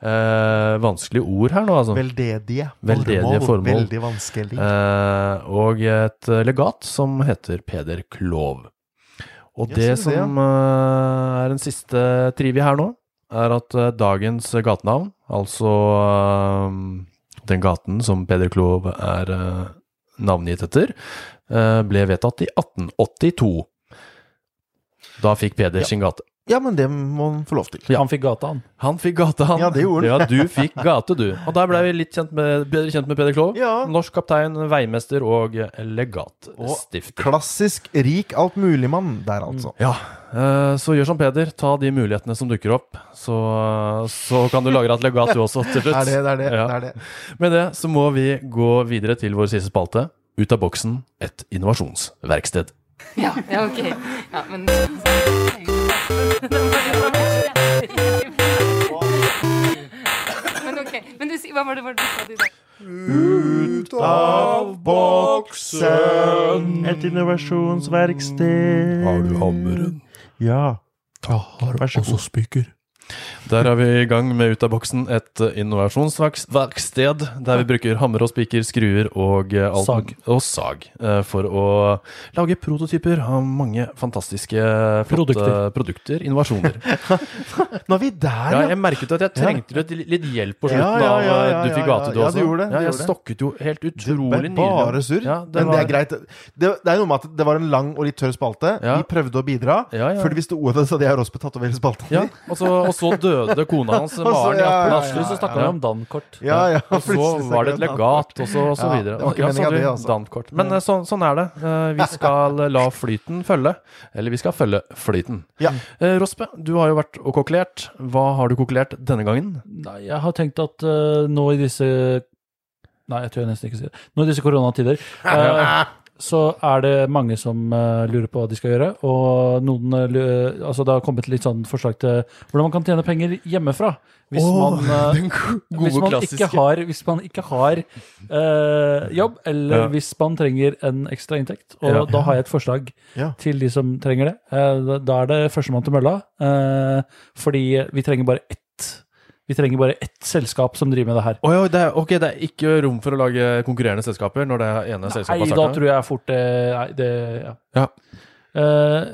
Speaker 3: Eh, vanskelige ord her nå, altså.
Speaker 1: Veldedige.
Speaker 3: Veldedige formål.
Speaker 1: Veldig vanskelig.
Speaker 3: Eh, og et eh, legat som heter Peder Klov. Og
Speaker 1: Ja,
Speaker 3: det
Speaker 1: ser
Speaker 3: som
Speaker 1: du det, ja.
Speaker 3: eh, er den siste trivia her nå, er at eh, dagens gatenavn, altså eh, den gaten som Peder Klov er eh, navngitt etter, eh, ble vedtatt i 1882. Da fikk Peder
Speaker 1: Ja.
Speaker 3: sin gate.
Speaker 1: Ja, men det må han få lov til.
Speaker 3: Ja.
Speaker 2: Han fikk gata, han.
Speaker 3: Han fikk gate, han.
Speaker 1: Ja, det gjorde han.
Speaker 3: Ja, du fikk gate, du. Og der ble vi litt kjent med, bedre kjent med Peder Klov.
Speaker 1: Ja.
Speaker 3: Norsk kaptein, veimester og legatstifter.
Speaker 1: Klassisk rik altmuligmann der, altså.
Speaker 3: Ja, eh, så gjør som Peder. Ta de mulighetene som dukker opp, så, så kan du lagre et legat du også, til
Speaker 1: Det er
Speaker 3: slutt.
Speaker 1: det, det er det.
Speaker 3: Ja.
Speaker 1: det, er det.
Speaker 3: Med det så må vi gå videre til vår siste spalte. Ut av boksen et innovasjonsverksted.
Speaker 4: Ja, ja, ok. Ja, men Men ok. Men du, si- hva var det, hva var det du sa? du sa?
Speaker 1: Ut
Speaker 5: Ut av boksen.
Speaker 1: Et innovasjonsverksted.
Speaker 5: Har du hammeren?
Speaker 1: Ja. Vær så god.
Speaker 5: spiker.
Speaker 3: Der er vi i gang med Ut av boksen, et eh, innovasjonsverksted der vi bruker hammer og spiker, skruer og eh, alt-
Speaker 2: Sag.
Speaker 3: Og sag eh, for å lage prototyper av mange fantastiske flotte
Speaker 2: Produkter.
Speaker 3: produkter, innovasjoner.
Speaker 1: Nå er vi der,
Speaker 3: Ja,
Speaker 1: ja.
Speaker 3: jeg merket at jeg trengte litt, litt hjelp på
Speaker 1: Ja,
Speaker 3: slutten
Speaker 1: ja, ja,
Speaker 3: av eh,
Speaker 1: ja,
Speaker 3: Du fikk
Speaker 1: ja,
Speaker 3: gate,
Speaker 1: ja.
Speaker 3: du
Speaker 1: Ja,
Speaker 3: også.
Speaker 1: du gjorde det, du
Speaker 3: ja, jeg
Speaker 1: gjorde det.
Speaker 3: stokket jo helt utrolig
Speaker 1: Det er bare surr.
Speaker 3: Ja, det
Speaker 1: Men det
Speaker 3: var-
Speaker 1: er greit. Det, det er jo noe med at det var en lang og litt tørr spalte.
Speaker 3: Ja.
Speaker 1: Vi prøvde å bidra.
Speaker 3: Ja, ja.
Speaker 1: Før de visste ordet, så hadde jeg og Rospe tatt over hele spalten.
Speaker 3: Ja, og så, og så døde kona hans,
Speaker 1: Og så-
Speaker 3: Maren, i
Speaker 1: ja, ja,
Speaker 3: 18
Speaker 1: ja,
Speaker 3: Asløy, så snakka
Speaker 2: Ja,
Speaker 3: vi om
Speaker 2: om dankort.
Speaker 1: ja, ja.
Speaker 3: Og så var det et legat, og så, og så
Speaker 1: Ja,
Speaker 3: videre.
Speaker 1: det var ikke
Speaker 3: Ja, så
Speaker 1: meningen
Speaker 3: hadde vi
Speaker 1: det, altså.
Speaker 3: Dankort. Men eh, sånn- sånn er det. Eh, Vi skal la flyten følge. Eller vi skal følge flyten.
Speaker 1: Ja.
Speaker 3: Eh, Rospe, du har jo vært og kokkelert. Hva har du kokkelert denne gangen?
Speaker 2: Nei, jeg har tenkt at eh, nå i disse Nei, jeg tør nesten ikke si det. Nå i disse koronatider eh, så er det mange som eh, lurer på hva de skal gjøre. Og noen eh, lu- Altså, det har kommet litt sånn forslag til hvordan man kan tjene penger hjemmefra. Hvis man, eh, hvis man ikke har, hvis man ikke har eh, jobb, eller
Speaker 3: Ja.
Speaker 2: hvis man trenger en ekstra inntekt. Og
Speaker 3: Ja.
Speaker 2: da har jeg et forslag
Speaker 1: Ja.
Speaker 2: til de som trenger det. Eh, da- da er det førstemann til mølla, eh, fordi vi trenger bare ett. Vi trenger bare ett selskap som driver med det her.
Speaker 3: Å ja, det er, ok, det er ikke rom for å lage konkurrerende selskaper når det ene selskapet
Speaker 2: Nei,
Speaker 3: har
Speaker 2: da
Speaker 3: startet?
Speaker 2: tror jeg fort eh, Nei, det Ja.
Speaker 3: Ja.
Speaker 2: Eh,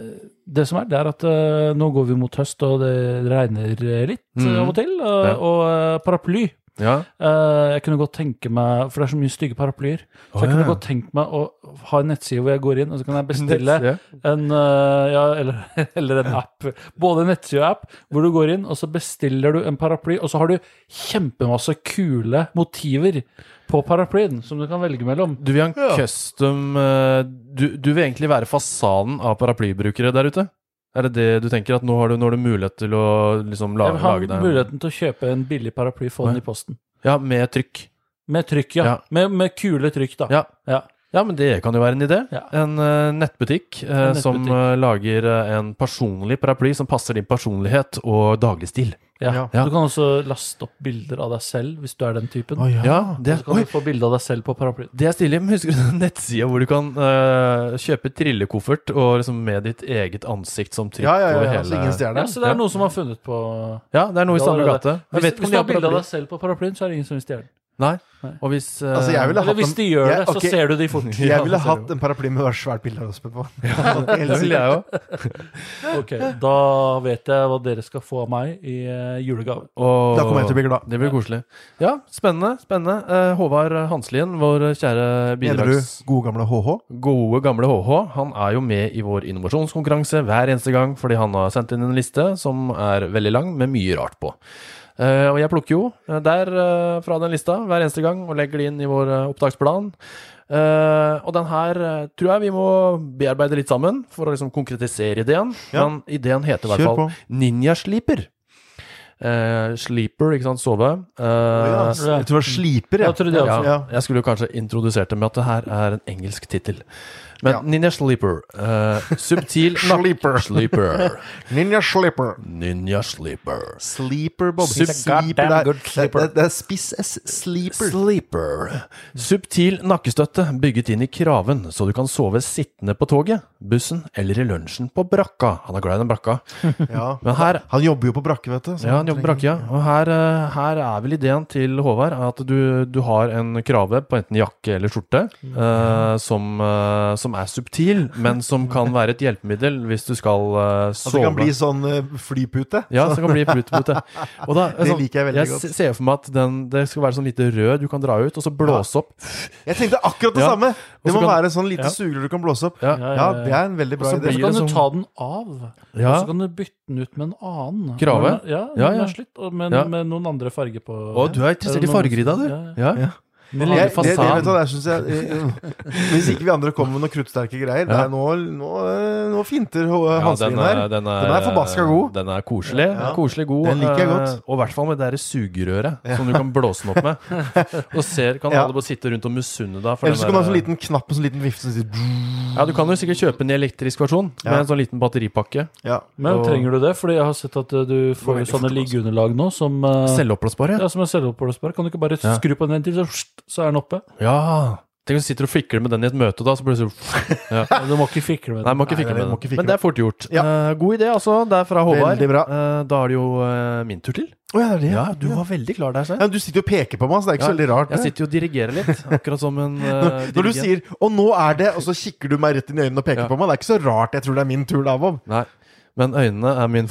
Speaker 2: det som er, det er at eh, nå går vi mot høst, og det regner eh, litt eh,
Speaker 3: Mhm.
Speaker 2: av og til. eh,
Speaker 3: Ja.
Speaker 2: Og eh, paraply.
Speaker 3: Ja.
Speaker 2: Eh, jeg kunne godt tenke meg For det er så mye stygge paraplyer. Så jeg
Speaker 3: Å,
Speaker 2: kunne
Speaker 3: ja.
Speaker 2: godt tenkt meg å ha en nettside hvor jeg går inn, og så kan jeg bestille
Speaker 3: Ja.
Speaker 2: en eh, Ja, eller, eller en app. Både en nettside og app, hvor du går inn, og så bestiller du en paraply, og så har du kjempemasse kule motiver på paraplyen som du kan velge mellom.
Speaker 3: Du vil ha en custom eh, du, du vil egentlig være fasaden av paraplybrukere der ute? Er det det du tenker? At nå har du, nå har du mulighet til å liksom la,
Speaker 2: Jeg vil ha
Speaker 3: lage deg en-
Speaker 2: muligheten til å kjøpe en billig paraply for den i posten.
Speaker 3: Ja, med trykk.
Speaker 2: Med trykk, ja.
Speaker 3: Ja.
Speaker 2: Med, med kule trykk, da.
Speaker 3: Ja. Ja, men det kan jo være en idé.
Speaker 2: Ja.
Speaker 3: En eh, nettbutikk eh,
Speaker 2: En nettbutikk.
Speaker 3: som eh, lager eh, en personlig paraply som passer din personlighet og dagligstil.
Speaker 2: Ja.
Speaker 3: Ja.
Speaker 2: Du kan også laste opp bilder av deg selv, hvis du er den typen.
Speaker 1: Å, ja.
Speaker 3: Ja, det,
Speaker 2: Så kan
Speaker 3: oi,
Speaker 2: du få bilde av deg selv på paraplyen.
Speaker 3: det er stilig. Men husker du den nettsida hvor du kan eh, kjøpe trillekoffert og liksom med ditt eget ansikt som trykk
Speaker 1: Ja, ja, ja,
Speaker 3: og
Speaker 1: ja.
Speaker 3: hele
Speaker 1: Så ingen stjerner.
Speaker 2: Ja, så det
Speaker 3: Ja.
Speaker 2: er noen som har funnet på
Speaker 3: Ja, det er noe i
Speaker 2: Ja,
Speaker 3: samme
Speaker 2: det er det.
Speaker 3: gate. Jeg
Speaker 2: Hvis,
Speaker 3: vet ikke om
Speaker 2: hvis
Speaker 3: de
Speaker 2: du
Speaker 3: har
Speaker 2: har bilde av
Speaker 3: paraply.
Speaker 2: deg selv på paraplyen, så er det ingen som vil stjele den.
Speaker 3: Nei. Og hvis eh,
Speaker 1: Altså, jeg ville
Speaker 2: Eller
Speaker 1: hatt
Speaker 2: hvis
Speaker 1: en,
Speaker 2: de gjør
Speaker 1: jeg-
Speaker 2: det, så
Speaker 1: ok.
Speaker 2: ser du de fort.
Speaker 1: jeg ville
Speaker 2: Ja,
Speaker 1: hatt en paraply med svært bilde av Rospe på.
Speaker 3: Det ville jeg òg.
Speaker 2: Ok, da vet jeg hva dere skal få av meg i eh, julegave.
Speaker 1: Da kommer jeg til å bli glad.
Speaker 3: Det blir koselig. Ja, spennende. spennende. Eh, Håvard Hanslien, vår kjære
Speaker 1: Mener du
Speaker 3: bidrags...
Speaker 1: gode gamle HH?
Speaker 3: Gode, gamle HH. Han er jo med i vår innovasjonskonkurranse hver eneste gang fordi han har sendt inn en liste som er veldig lang, med mye rart på. Eh, og jeg plukker jo eh, der eh, fra den lista hver eneste gang og legger det inn i vår eh, opptaksplan. Eh, og den her eh, tror jeg vi må bearbeide litt sammen for å liksom konkretisere ideen.
Speaker 1: Ja.
Speaker 3: Men ideen heter i hvert
Speaker 1: Kjør
Speaker 3: fall
Speaker 1: på.
Speaker 3: Ninja-sleeper. Eh, sleeper, ikke sant, sove. Eh,
Speaker 1: Ja,
Speaker 2: ja.
Speaker 1: Jeg tror det var sliper,
Speaker 2: Jeg trodde jeg
Speaker 3: ja,
Speaker 2: også.
Speaker 1: Ja.
Speaker 3: Jeg skulle jo kanskje introdusert det med at det her er en engelsk tittel. Men
Speaker 1: Ja.
Speaker 3: Ninja Sleeper eh, Subtil nak-
Speaker 1: Sleeper.
Speaker 3: Sleeper.
Speaker 1: Ninja Slipper.
Speaker 3: Ninja Sleeper.
Speaker 1: Sleeper, Bob.
Speaker 3: Sleeper.
Speaker 1: Sleeper.
Speaker 2: Goddamn
Speaker 1: Det,
Speaker 2: good
Speaker 1: er-
Speaker 2: sleeper.
Speaker 1: det, det er spiss S. Sleeper.
Speaker 3: Sleeper. Subtil nakkestøtte bygget inn i kraven, så du kan sove sittende på toget, bussen eller i lunsjen på brakka. Han er glad i den brakka.
Speaker 1: Ja.
Speaker 3: Men her
Speaker 1: Han jobber jo på brakke, vet du. så
Speaker 3: Ja, han jobber brakke, ja. Og her, eh, her er vel ideen til Håvard at du, du har en krave på enten jakke eller skjorte
Speaker 1: Mm.
Speaker 3: eh, som, eh, som er subtil, men som kan være et hjelpemiddel hvis du skal eh,
Speaker 1: At
Speaker 3: sove.
Speaker 1: det kan bli sånn eh, flypute.
Speaker 3: ja, så det kan bli bluetooth. Og da, sånn,
Speaker 1: Det liker jeg veldig
Speaker 3: jeg
Speaker 1: godt.
Speaker 3: se- ser for meg at den, det skal være sånn lite rød du kan dra ut, og så blåse opp.
Speaker 1: Jeg tenkte akkurat det
Speaker 3: Ja.
Speaker 1: samme! Det
Speaker 3: så
Speaker 1: må
Speaker 3: kan-
Speaker 1: være sånn lite
Speaker 2: Ja.
Speaker 1: sugerør du kan blåse opp.
Speaker 3: Ja.
Speaker 2: Ja,
Speaker 1: Ja, det er en veldig bra
Speaker 3: så
Speaker 1: idé.
Speaker 2: eh, Så
Speaker 3: blir det
Speaker 2: kan
Speaker 3: som-
Speaker 2: du ta den av.
Speaker 3: Ja.
Speaker 2: Og så kan du bytte den ut med en annen.
Speaker 3: Krave?
Speaker 2: Når den- Ja, når
Speaker 3: Ja,
Speaker 2: den
Speaker 3: ja.
Speaker 2: er slitt, og med,
Speaker 3: Ja.
Speaker 2: med noen andre farger på.
Speaker 3: Å, du er interessert i
Speaker 2: Er det
Speaker 3: farger i dag, du.
Speaker 2: noen- Ja,
Speaker 3: Ja.
Speaker 1: Ja.
Speaker 3: Den
Speaker 1: Jeg,
Speaker 3: lille
Speaker 1: det, det, vet du,
Speaker 3: fasaden.
Speaker 1: hva, der synes jeg, eh, hvis ikke vi andre kommer med noen kruttsterke greier det
Speaker 3: Ja.
Speaker 1: er nå, nå, eh, nå finter
Speaker 3: Ja,
Speaker 1: Hanslien her.
Speaker 3: den
Speaker 1: Den er forbaska god.
Speaker 3: Den er koselig.
Speaker 1: Ja.
Speaker 3: koselig god
Speaker 1: Den liker jeg godt.
Speaker 3: eh, Og i hvert fall med det der sugerøret som du kan blåse den opp med. Og ser, kan
Speaker 1: Ja.
Speaker 3: alle bare sitte rundt og misunne deg. for
Speaker 1: Eller så
Speaker 3: den
Speaker 1: kan du ha
Speaker 3: der-
Speaker 1: en sånn liten knapp og sånn liten vifte som sier
Speaker 3: Ja, Du kan jo sikkert kjøpe en i elektrisk versjon med
Speaker 1: Ja.
Speaker 3: en sånn liten batteripakke.
Speaker 1: ja.
Speaker 2: Men
Speaker 3: Og-
Speaker 2: trenger du det? Fordi jeg har sett at eh, du får
Speaker 1: veldig
Speaker 2: sånne
Speaker 1: fort, altså.
Speaker 2: liggeunderlag nå som eh,
Speaker 3: Selvoppblåsbar, ja.
Speaker 2: ja, som er selvoppblåsbare. Kan du ikke bare
Speaker 3: Ja.
Speaker 2: skru på den en til, så så er den oppe.
Speaker 3: Ja. Tenk hvis du sitter og fikler med den i et møte, da, så plutselig ja.
Speaker 2: Du må ikke fikle med
Speaker 3: Nei,
Speaker 2: den.
Speaker 3: må ikke
Speaker 1: Nei,
Speaker 3: fikle
Speaker 1: nei,
Speaker 3: med
Speaker 1: må
Speaker 3: den.
Speaker 1: ikke fikle
Speaker 3: Men det er fort gjort. Eh, god idé, altså. Det er fra Håvard.
Speaker 1: Veldig bra.
Speaker 3: Eh, da er det jo eh, min tur til.
Speaker 1: Å ja, det er det.
Speaker 3: Ja, du var veldig klar der, Svein.
Speaker 1: Ja, du sitter jo og peker på meg, så det er ikke så veldig rart.
Speaker 3: Jeg
Speaker 1: det.
Speaker 3: sitter jo og dirigerer litt, akkurat som en eh,
Speaker 1: Når du
Speaker 3: dirigent.
Speaker 1: sier 'og nå er det', og så kikker du meg rett inn i øynene og peker
Speaker 3: Ja.
Speaker 1: på meg, det er ikke så rart jeg tror det er min tur da, Bob.
Speaker 3: Nei. Men øynene er min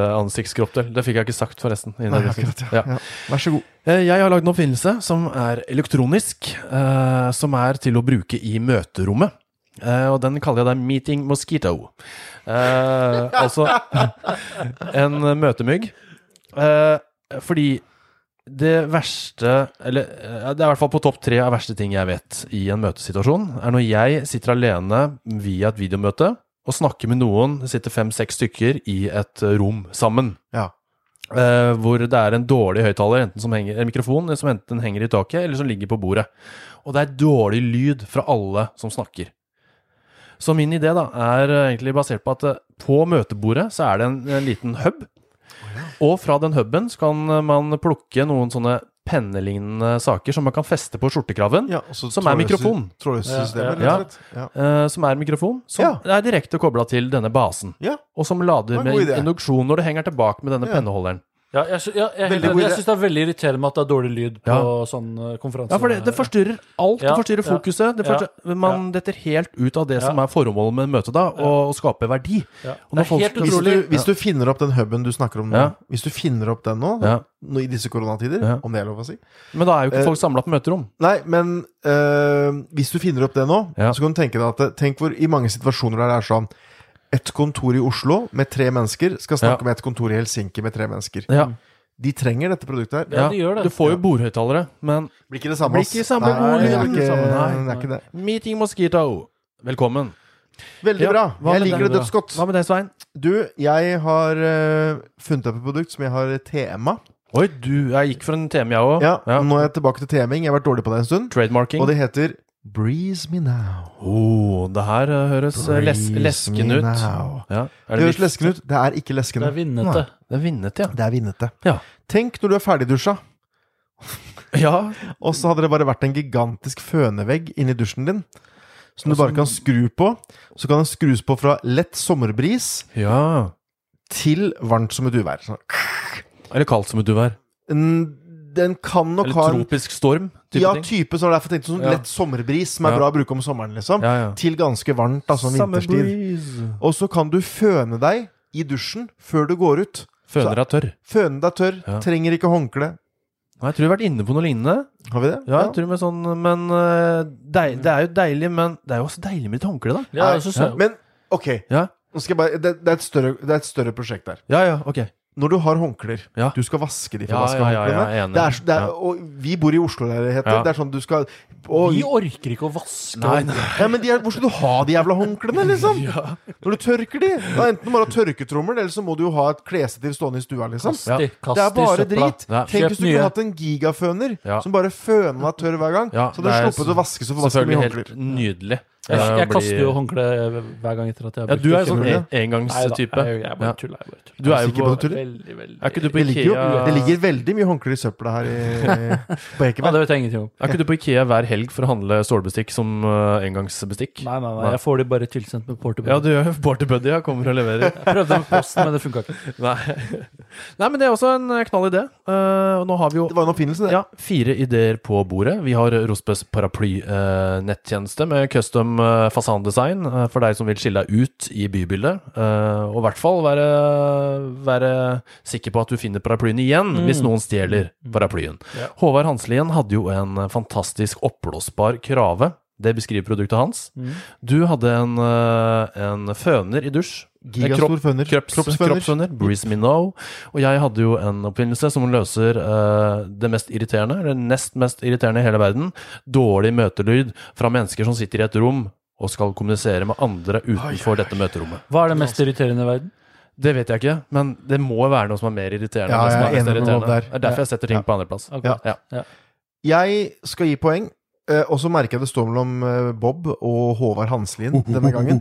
Speaker 3: favoritt-ansiktskroppdel. Det fikk jeg ikke sagt, forresten. i
Speaker 1: Nei,
Speaker 3: innledningen.
Speaker 1: akkurat,
Speaker 3: Ja.
Speaker 1: ja. Ja. Vær så god.
Speaker 3: Eh, Jeg har lagd en oppfinnelse som er elektronisk, eh, som er til å bruke i møterommet. Eh, og den kaller jeg da Meeting Mosquito. Eh, altså en møtemygg. Eh, fordi det verste Eller eh, det er i hvert fall på topp tre av verste ting jeg vet i en møtesituasjon, er når jeg sitter alene via et videomøte og snakker med noen, det sitter fem-seks stykker i et eh, rom sammen.
Speaker 1: Ja.
Speaker 3: Eh, hvor det er en dårlig høyttaler, enten som henger, en mikrofon som enten henger i taket, eller som ligger på bordet. Og det er dårlig lyd fra alle som snakker. Så min idé da er eh, egentlig basert på at eh, på møtebordet så er det en, en liten hub. Og fra den huben så kan eh, man plukke noen sånne pennelignende saker som man kan feste på skjortekraven.
Speaker 1: Ja, og så
Speaker 3: Som er
Speaker 1: trådløse-
Speaker 3: mikrofon.
Speaker 1: Trådløse systemer,
Speaker 3: Ja.
Speaker 1: rett og slett. Ja.
Speaker 3: eh, som er en mikrofon, som er direkte kobla til denne basen.
Speaker 1: Ja.
Speaker 3: Og som lader
Speaker 1: var en
Speaker 3: med
Speaker 1: god idé.
Speaker 3: induksjon når det henger tilbake med denne
Speaker 1: Ja.
Speaker 3: penneholderen.
Speaker 2: Ja, jeg, sy- ja, jeg,
Speaker 1: Veldig
Speaker 2: jeg,
Speaker 1: god
Speaker 2: jeg
Speaker 1: idé.
Speaker 2: syns det er veldig irriterende med at det er dårlig lyd på
Speaker 3: Ja.
Speaker 2: sånn eh, konferanse.
Speaker 3: Ja, for det, det forstyrrer alt.
Speaker 2: Ja,
Speaker 3: det forstyrrer
Speaker 2: ja,
Speaker 3: fokuset. Det
Speaker 2: ja,
Speaker 3: forstyrrer, man detter helt ut av det som er formålet med møtet, da, og, og skape verdi.
Speaker 2: Ja.
Speaker 3: Og
Speaker 2: Det
Speaker 3: når
Speaker 2: er
Speaker 3: folk
Speaker 2: helt
Speaker 3: skal-
Speaker 1: Hvis du,
Speaker 2: utrolig.
Speaker 1: hvis du finner opp den huben du snakker om nå,
Speaker 3: Ja.
Speaker 1: hvis du finner opp den nå,
Speaker 3: Ja.
Speaker 1: nå i disse koronatider,
Speaker 3: Ja.
Speaker 1: om det er lov å si
Speaker 3: Men da er jo ikke
Speaker 1: Eh,
Speaker 3: folk samla på møterom.
Speaker 1: Nei, men øh, hvis du finner opp det nå,
Speaker 3: Ja.
Speaker 1: så kan du tenke deg at eh, Tenk hvor i mange situasjoner der det er sånn Et kontor i Oslo med tre mennesker skal snakke
Speaker 3: Ja.
Speaker 1: med et kontor i Helsinki med tre mennesker.
Speaker 3: Ja,
Speaker 1: De trenger dette produktet her.
Speaker 2: Mm. Ja, de gjør det.
Speaker 3: Du får jo bordhøyttalere, men
Speaker 1: Blir ikke det samme,
Speaker 3: Blir ikke samme
Speaker 1: Nei,
Speaker 3: god lyd,
Speaker 1: det er
Speaker 3: blir
Speaker 1: ikke,
Speaker 3: ikke samme, nei.
Speaker 1: det er ikke det.
Speaker 3: Meeting Mosquito, velkommen.
Speaker 1: Veldig
Speaker 3: Ja,
Speaker 1: bra.
Speaker 3: hva
Speaker 1: Jeg
Speaker 3: med
Speaker 1: liker
Speaker 3: deg,
Speaker 1: det dødsgodt.
Speaker 3: Hva med det, Svein?
Speaker 1: Du, jeg har øh, funnet opp et produkt som jeg har tema.
Speaker 3: Oi, du, jeg gikk for en TM, jeg òg.
Speaker 1: Ja, Nå er jeg tilbake til teming. Jeg har vært dårlig på det en stund.
Speaker 3: Trademarking.
Speaker 1: Og
Speaker 3: Å, det,
Speaker 1: det heter Breeze Me Now.
Speaker 3: her eh, høres eh, les,
Speaker 1: Breeze
Speaker 3: lesken
Speaker 1: me
Speaker 3: ut.
Speaker 1: now.
Speaker 3: Ja. Er
Speaker 1: Det
Speaker 3: det,
Speaker 1: høres
Speaker 3: vits-
Speaker 1: lesken ut. Det er ikke leskende.
Speaker 2: Det er vinnete.
Speaker 3: det er vinnet, ja.
Speaker 1: Nei, det er vinnete.
Speaker 3: Ja.
Speaker 1: Tenk når du er ferdigdusja,
Speaker 3: ja.
Speaker 1: og så hadde det bare vært en gigantisk fønevegg inni dusjen din. Som du bare kan skru på. Så kan den skrus på fra lett sommerbris
Speaker 3: Ja.
Speaker 1: til varmt som et uvær. Sånn.
Speaker 3: Eller kaldt som et uvær.
Speaker 1: Den- Den kan nok
Speaker 3: Eller
Speaker 1: ha en
Speaker 3: tropisk storm. Type
Speaker 1: ja,
Speaker 3: ting.
Speaker 1: type som derfor tenkte sånn
Speaker 3: Ja.
Speaker 1: lett sommerbris, som er
Speaker 3: Ja.
Speaker 1: bra å bruke om sommeren, liksom.
Speaker 3: Ja, ja.
Speaker 1: Til ganske varmt, da,
Speaker 3: Altså,
Speaker 1: sånn vinterstid. Og så kan du føne deg i dusjen før du går ut.
Speaker 3: Føner er tørr.
Speaker 1: Føne deg tørr,
Speaker 3: Ja.
Speaker 1: trenger ikke håndkle.
Speaker 3: Nei, jeg tror jeg har vært inne på noe lignende.
Speaker 1: Har vi det?
Speaker 3: Ja, jeg tror med sånn, men øh, deil, Det er jo deilig, men det er jo også deilig med et håndkle, da.
Speaker 2: Ja, altså, jeg synes jeg.
Speaker 1: Men ok,
Speaker 3: Ja,
Speaker 1: nå skal jeg bare, det, det, er et større, det er et større prosjekt der.
Speaker 3: ja, ja ok.
Speaker 1: Når du har håndklær,
Speaker 3: Ja.
Speaker 1: du skal vaske de
Speaker 3: Ja,
Speaker 1: forvaska
Speaker 3: ja, ja,
Speaker 1: håndklærne.
Speaker 3: jeg er enig.
Speaker 1: Det er så- det er-
Speaker 3: Ja.
Speaker 1: Og vi bor i Oslo-leiligheter.
Speaker 3: Ja.
Speaker 1: Det er sånn du skal
Speaker 2: Vi
Speaker 1: og,
Speaker 2: orker ikke å vaske.
Speaker 3: Nei, nei.
Speaker 1: ja, men de er, Hvor skal du ha de jævla håndklærne, liksom? Når du tørker de? Da enten må du ha tørketrommel, eller så må du jo ha et klesstativ stående i stua, liksom.
Speaker 3: Ja.
Speaker 2: Kast i, kast
Speaker 1: Det er bare
Speaker 2: i søpla.
Speaker 1: drit.
Speaker 3: Ja.
Speaker 1: Tenk
Speaker 2: Kjøp
Speaker 1: hvis du
Speaker 2: nye.
Speaker 1: kunne hatt en gigaføner
Speaker 3: Ja.
Speaker 1: som bare føna deg tørr hver gang.
Speaker 3: Ja,
Speaker 1: så hadde
Speaker 3: det
Speaker 1: du
Speaker 3: er
Speaker 1: sluppet å vaske så forbaska mye
Speaker 3: Selvfølgelig
Speaker 1: håndklær.
Speaker 3: helt nydelig.
Speaker 2: Jeg, jeg
Speaker 3: Det
Speaker 2: kaster
Speaker 3: blir-
Speaker 2: jo håndkle eh, hver gang etter at jeg har
Speaker 3: Ja,
Speaker 2: brukt
Speaker 3: du er
Speaker 2: det.
Speaker 3: jo sånn
Speaker 1: Kjenner
Speaker 3: en,
Speaker 1: du
Speaker 3: engangstype.
Speaker 2: Neida, jeg, jeg bare
Speaker 3: Ja.
Speaker 2: tuller. Jeg bare tuller.
Speaker 3: Du er jo
Speaker 1: sikker på
Speaker 3: på
Speaker 1: at du tuller?
Speaker 2: Veldig, veldig.
Speaker 3: Er ikke du på
Speaker 1: Det ligger, jo,
Speaker 3: Ikea
Speaker 1: det ligger veldig mye håndklær i søpla her i, på
Speaker 2: Ja,
Speaker 1: Ekeberg.
Speaker 2: det vet jeg ingenting om.
Speaker 3: Er ikke du på Ikea hver helg for å handle stålbestikk som øh, engangsbestikk?
Speaker 2: Nei, nei, nei,
Speaker 3: Nei.
Speaker 2: jeg får de bare tilsendt med portable.
Speaker 3: Ja, du gjør Party Buddy, ja. Kommer og leverer.
Speaker 2: Jeg prøvde med posten, men det funka ikke.
Speaker 3: Nei. Nei, men det er også en eh, knall idé. Eh, og nå har vi jo
Speaker 1: Det var en oppfinnelse, det.
Speaker 3: ja, fire ideer på bordet. Vi har Rosbes paraply-nettjeneste med custom eh, fasandesign eh, for deg som vil skille deg ut i bybildet. Eh, og i hvert fall være, være sikker på at du finner paraplyen igjen hvis noen stjeler paraplyen.
Speaker 2: Ja.
Speaker 3: Håvard Hanslien hadde jo en eh, fantastisk oppblåsbar krave. Det beskriver produktet hans. Du hadde en, eh, en føner i dusj. En kropp-
Speaker 1: Gigastor føner.
Speaker 3: Krops, kroppsføner. Breeze Me Now. Og jeg hadde jo en oppfinnelse som løser eh, det mest irriterende, eller nest mest irriterende i hele verden. Dårlig møtelyd fra mennesker som sitter i et rom og skal kommunisere med andre utenfor dette møterommet.
Speaker 2: Hva er det mest irriterende i verden?
Speaker 3: Det vet jeg ikke, men det må være noe som er mer irriterende.
Speaker 1: Ja,
Speaker 3: enn det som
Speaker 1: jeg er
Speaker 3: mest
Speaker 1: enig med
Speaker 3: irriterende.
Speaker 1: Bob der.
Speaker 3: Det er derfor jeg setter ting
Speaker 1: Ja.
Speaker 3: på andreplass.
Speaker 2: Ok.
Speaker 1: Ja.
Speaker 3: Ja.
Speaker 1: Jeg skal gi poeng, eh, og så merker jeg det står mellom eh, Bob og Håvard Hanslien denne gangen.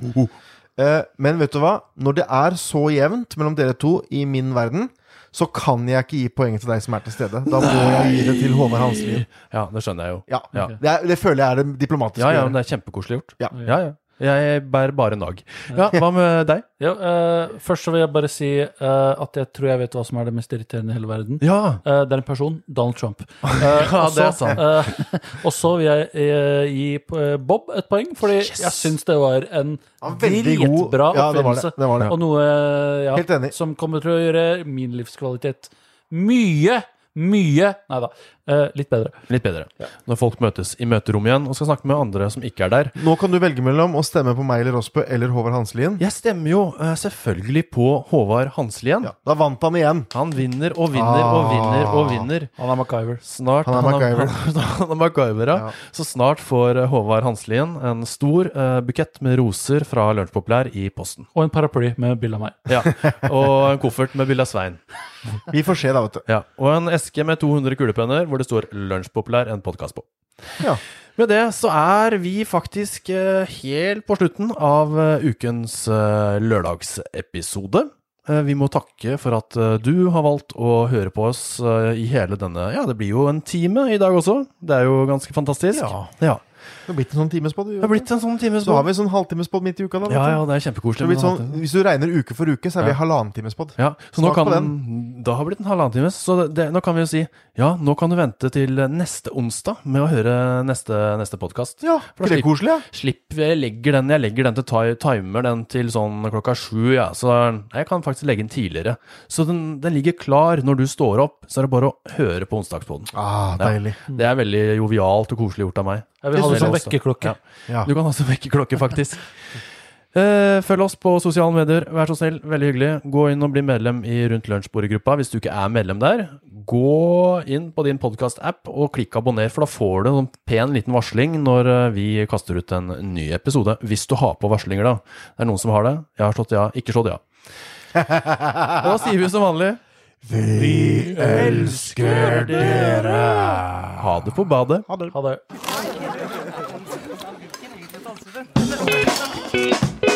Speaker 1: Eh, Men vet du hva? Når det er så jevnt mellom dere to i min verden, så kan jeg ikke gi poeng til deg som er til stede. Da må jeg gi det til Håvard Hanselin.
Speaker 3: Ja, det skjønner jeg jo.
Speaker 1: Ja.
Speaker 3: Ja.
Speaker 1: Det, er, det føler jeg er det diplomatiske.
Speaker 3: Ja, ja,
Speaker 1: å
Speaker 3: men det er kjempekoselig gjort.
Speaker 1: Ja.
Speaker 3: ja. ja. Jeg bærer bare nag. Ja, hva med deg?
Speaker 2: Jo, eh, først så vil jeg bare si eh, at jeg tror jeg vet hva som er det mest irriterende i hele verden.
Speaker 3: Ja,
Speaker 2: Eh, det er en person, Donald Trump. Eh,
Speaker 3: Ja,
Speaker 2: og
Speaker 3: det er
Speaker 2: så-
Speaker 3: sant.
Speaker 2: eh, og så vil jeg eh, gi eh, Bob et poeng, fordi jeg syns det var en
Speaker 1: Ja, veldig god.
Speaker 2: dritbra
Speaker 1: Ja, det var det.
Speaker 2: oppfinnelse.
Speaker 1: det, var det.
Speaker 2: Og noe ja,
Speaker 1: Helt enig.
Speaker 2: som kommer til å gjøre min livskvalitet mye, mye Nei da, eh, litt bedre.
Speaker 3: litt bedre. Når folk møtes i møterommet igjen og skal snakke med andre som ikke er der.
Speaker 1: Nå kan du velge mellom å stemme på meg eller Rossbø eller Håvard Hanselin.
Speaker 3: Jeg stemmer jo eh, selvfølgelig på Håvard Hanselien.
Speaker 1: Ja, da vant han igjen.
Speaker 3: Han vinner og vinner og vinner og vinner.
Speaker 2: Han er MacGyver.
Speaker 3: Snart,
Speaker 1: Han er MacGyver.
Speaker 3: han er MacGyver, ja.
Speaker 1: Ja.
Speaker 3: Så snart får eh, Håvard Hanselien en stor eh, bukett med roser fra Lunsjpopulær i posten.
Speaker 2: Og en paraply med bilde av meg.
Speaker 3: Ja, Og en koffert med bilde av Svein.
Speaker 1: Vi får se, da, vet du.
Speaker 3: Ja, Og en eske med 200 kulepenner hvor det står 'Lunsjpopulær', en podkast på.
Speaker 1: Ja.
Speaker 3: Med det så er vi faktisk eh, helt på slutten av eh, ukens eh, lørdagsepisode. Eh, Vi må takke for at eh, du har valgt å høre på oss eh, i hele denne Ja, det blir jo en time i dag også. Det er jo ganske fantastisk.
Speaker 1: Ja.
Speaker 3: Det
Speaker 1: Det har blitt en sånn timespod.
Speaker 3: har blitt en sånn time.
Speaker 1: Så har vi en sånn halvtimespod midt i uka, da. vet
Speaker 3: Ja,
Speaker 1: du.
Speaker 3: ja, det er
Speaker 1: Så det har
Speaker 3: kjempekoselig.
Speaker 1: blitt sånn, hvis du regner uke for uke, så er vi halvannen timespod.
Speaker 3: Ja, så nå
Speaker 1: Smak
Speaker 3: kan,
Speaker 1: på
Speaker 3: Da har det blitt en halvannen time, så det, det, nå kan vi jo si ja, nå kan du vente til neste onsdag med å høre neste, neste podkast.
Speaker 1: Ja, ikke det er koselig? Ja?
Speaker 3: Slipp, jeg legger den, jeg legger den til ti- timer den til sånn klokka sju, ja, så jeg kan faktisk legge den tidligere. Så den, den ligger klar når du står opp, så er det bare å høre på onsdagspodden.
Speaker 1: Ah, deilig.
Speaker 3: Det er veldig jovialt og koselig gjort av meg.
Speaker 2: Mm. Jeg vil ha det
Speaker 3: synes
Speaker 2: som
Speaker 3: jeg også.
Speaker 2: vekkerklokke.
Speaker 3: Ja.
Speaker 1: Ja.
Speaker 3: Du kan også vekke klokke, faktisk. Eh, følg oss på sosiale medier, vær så snill. Veldig hyggelig. Gå inn og bli medlem i Rundt lunsjbordet-gruppa hvis du ikke er medlem der. Gå inn på din podkast-app og klikk abonner, for da får du en sånn pen liten varsling når eh, vi kaster ut en ny episode. Hvis du har på varslinger, da. Det er noen som har det. Jeg har slått ja, ikke slått ja. Og da sier vi som vanlig Vi elsker dere! Ha det på badet.
Speaker 2: Ha det.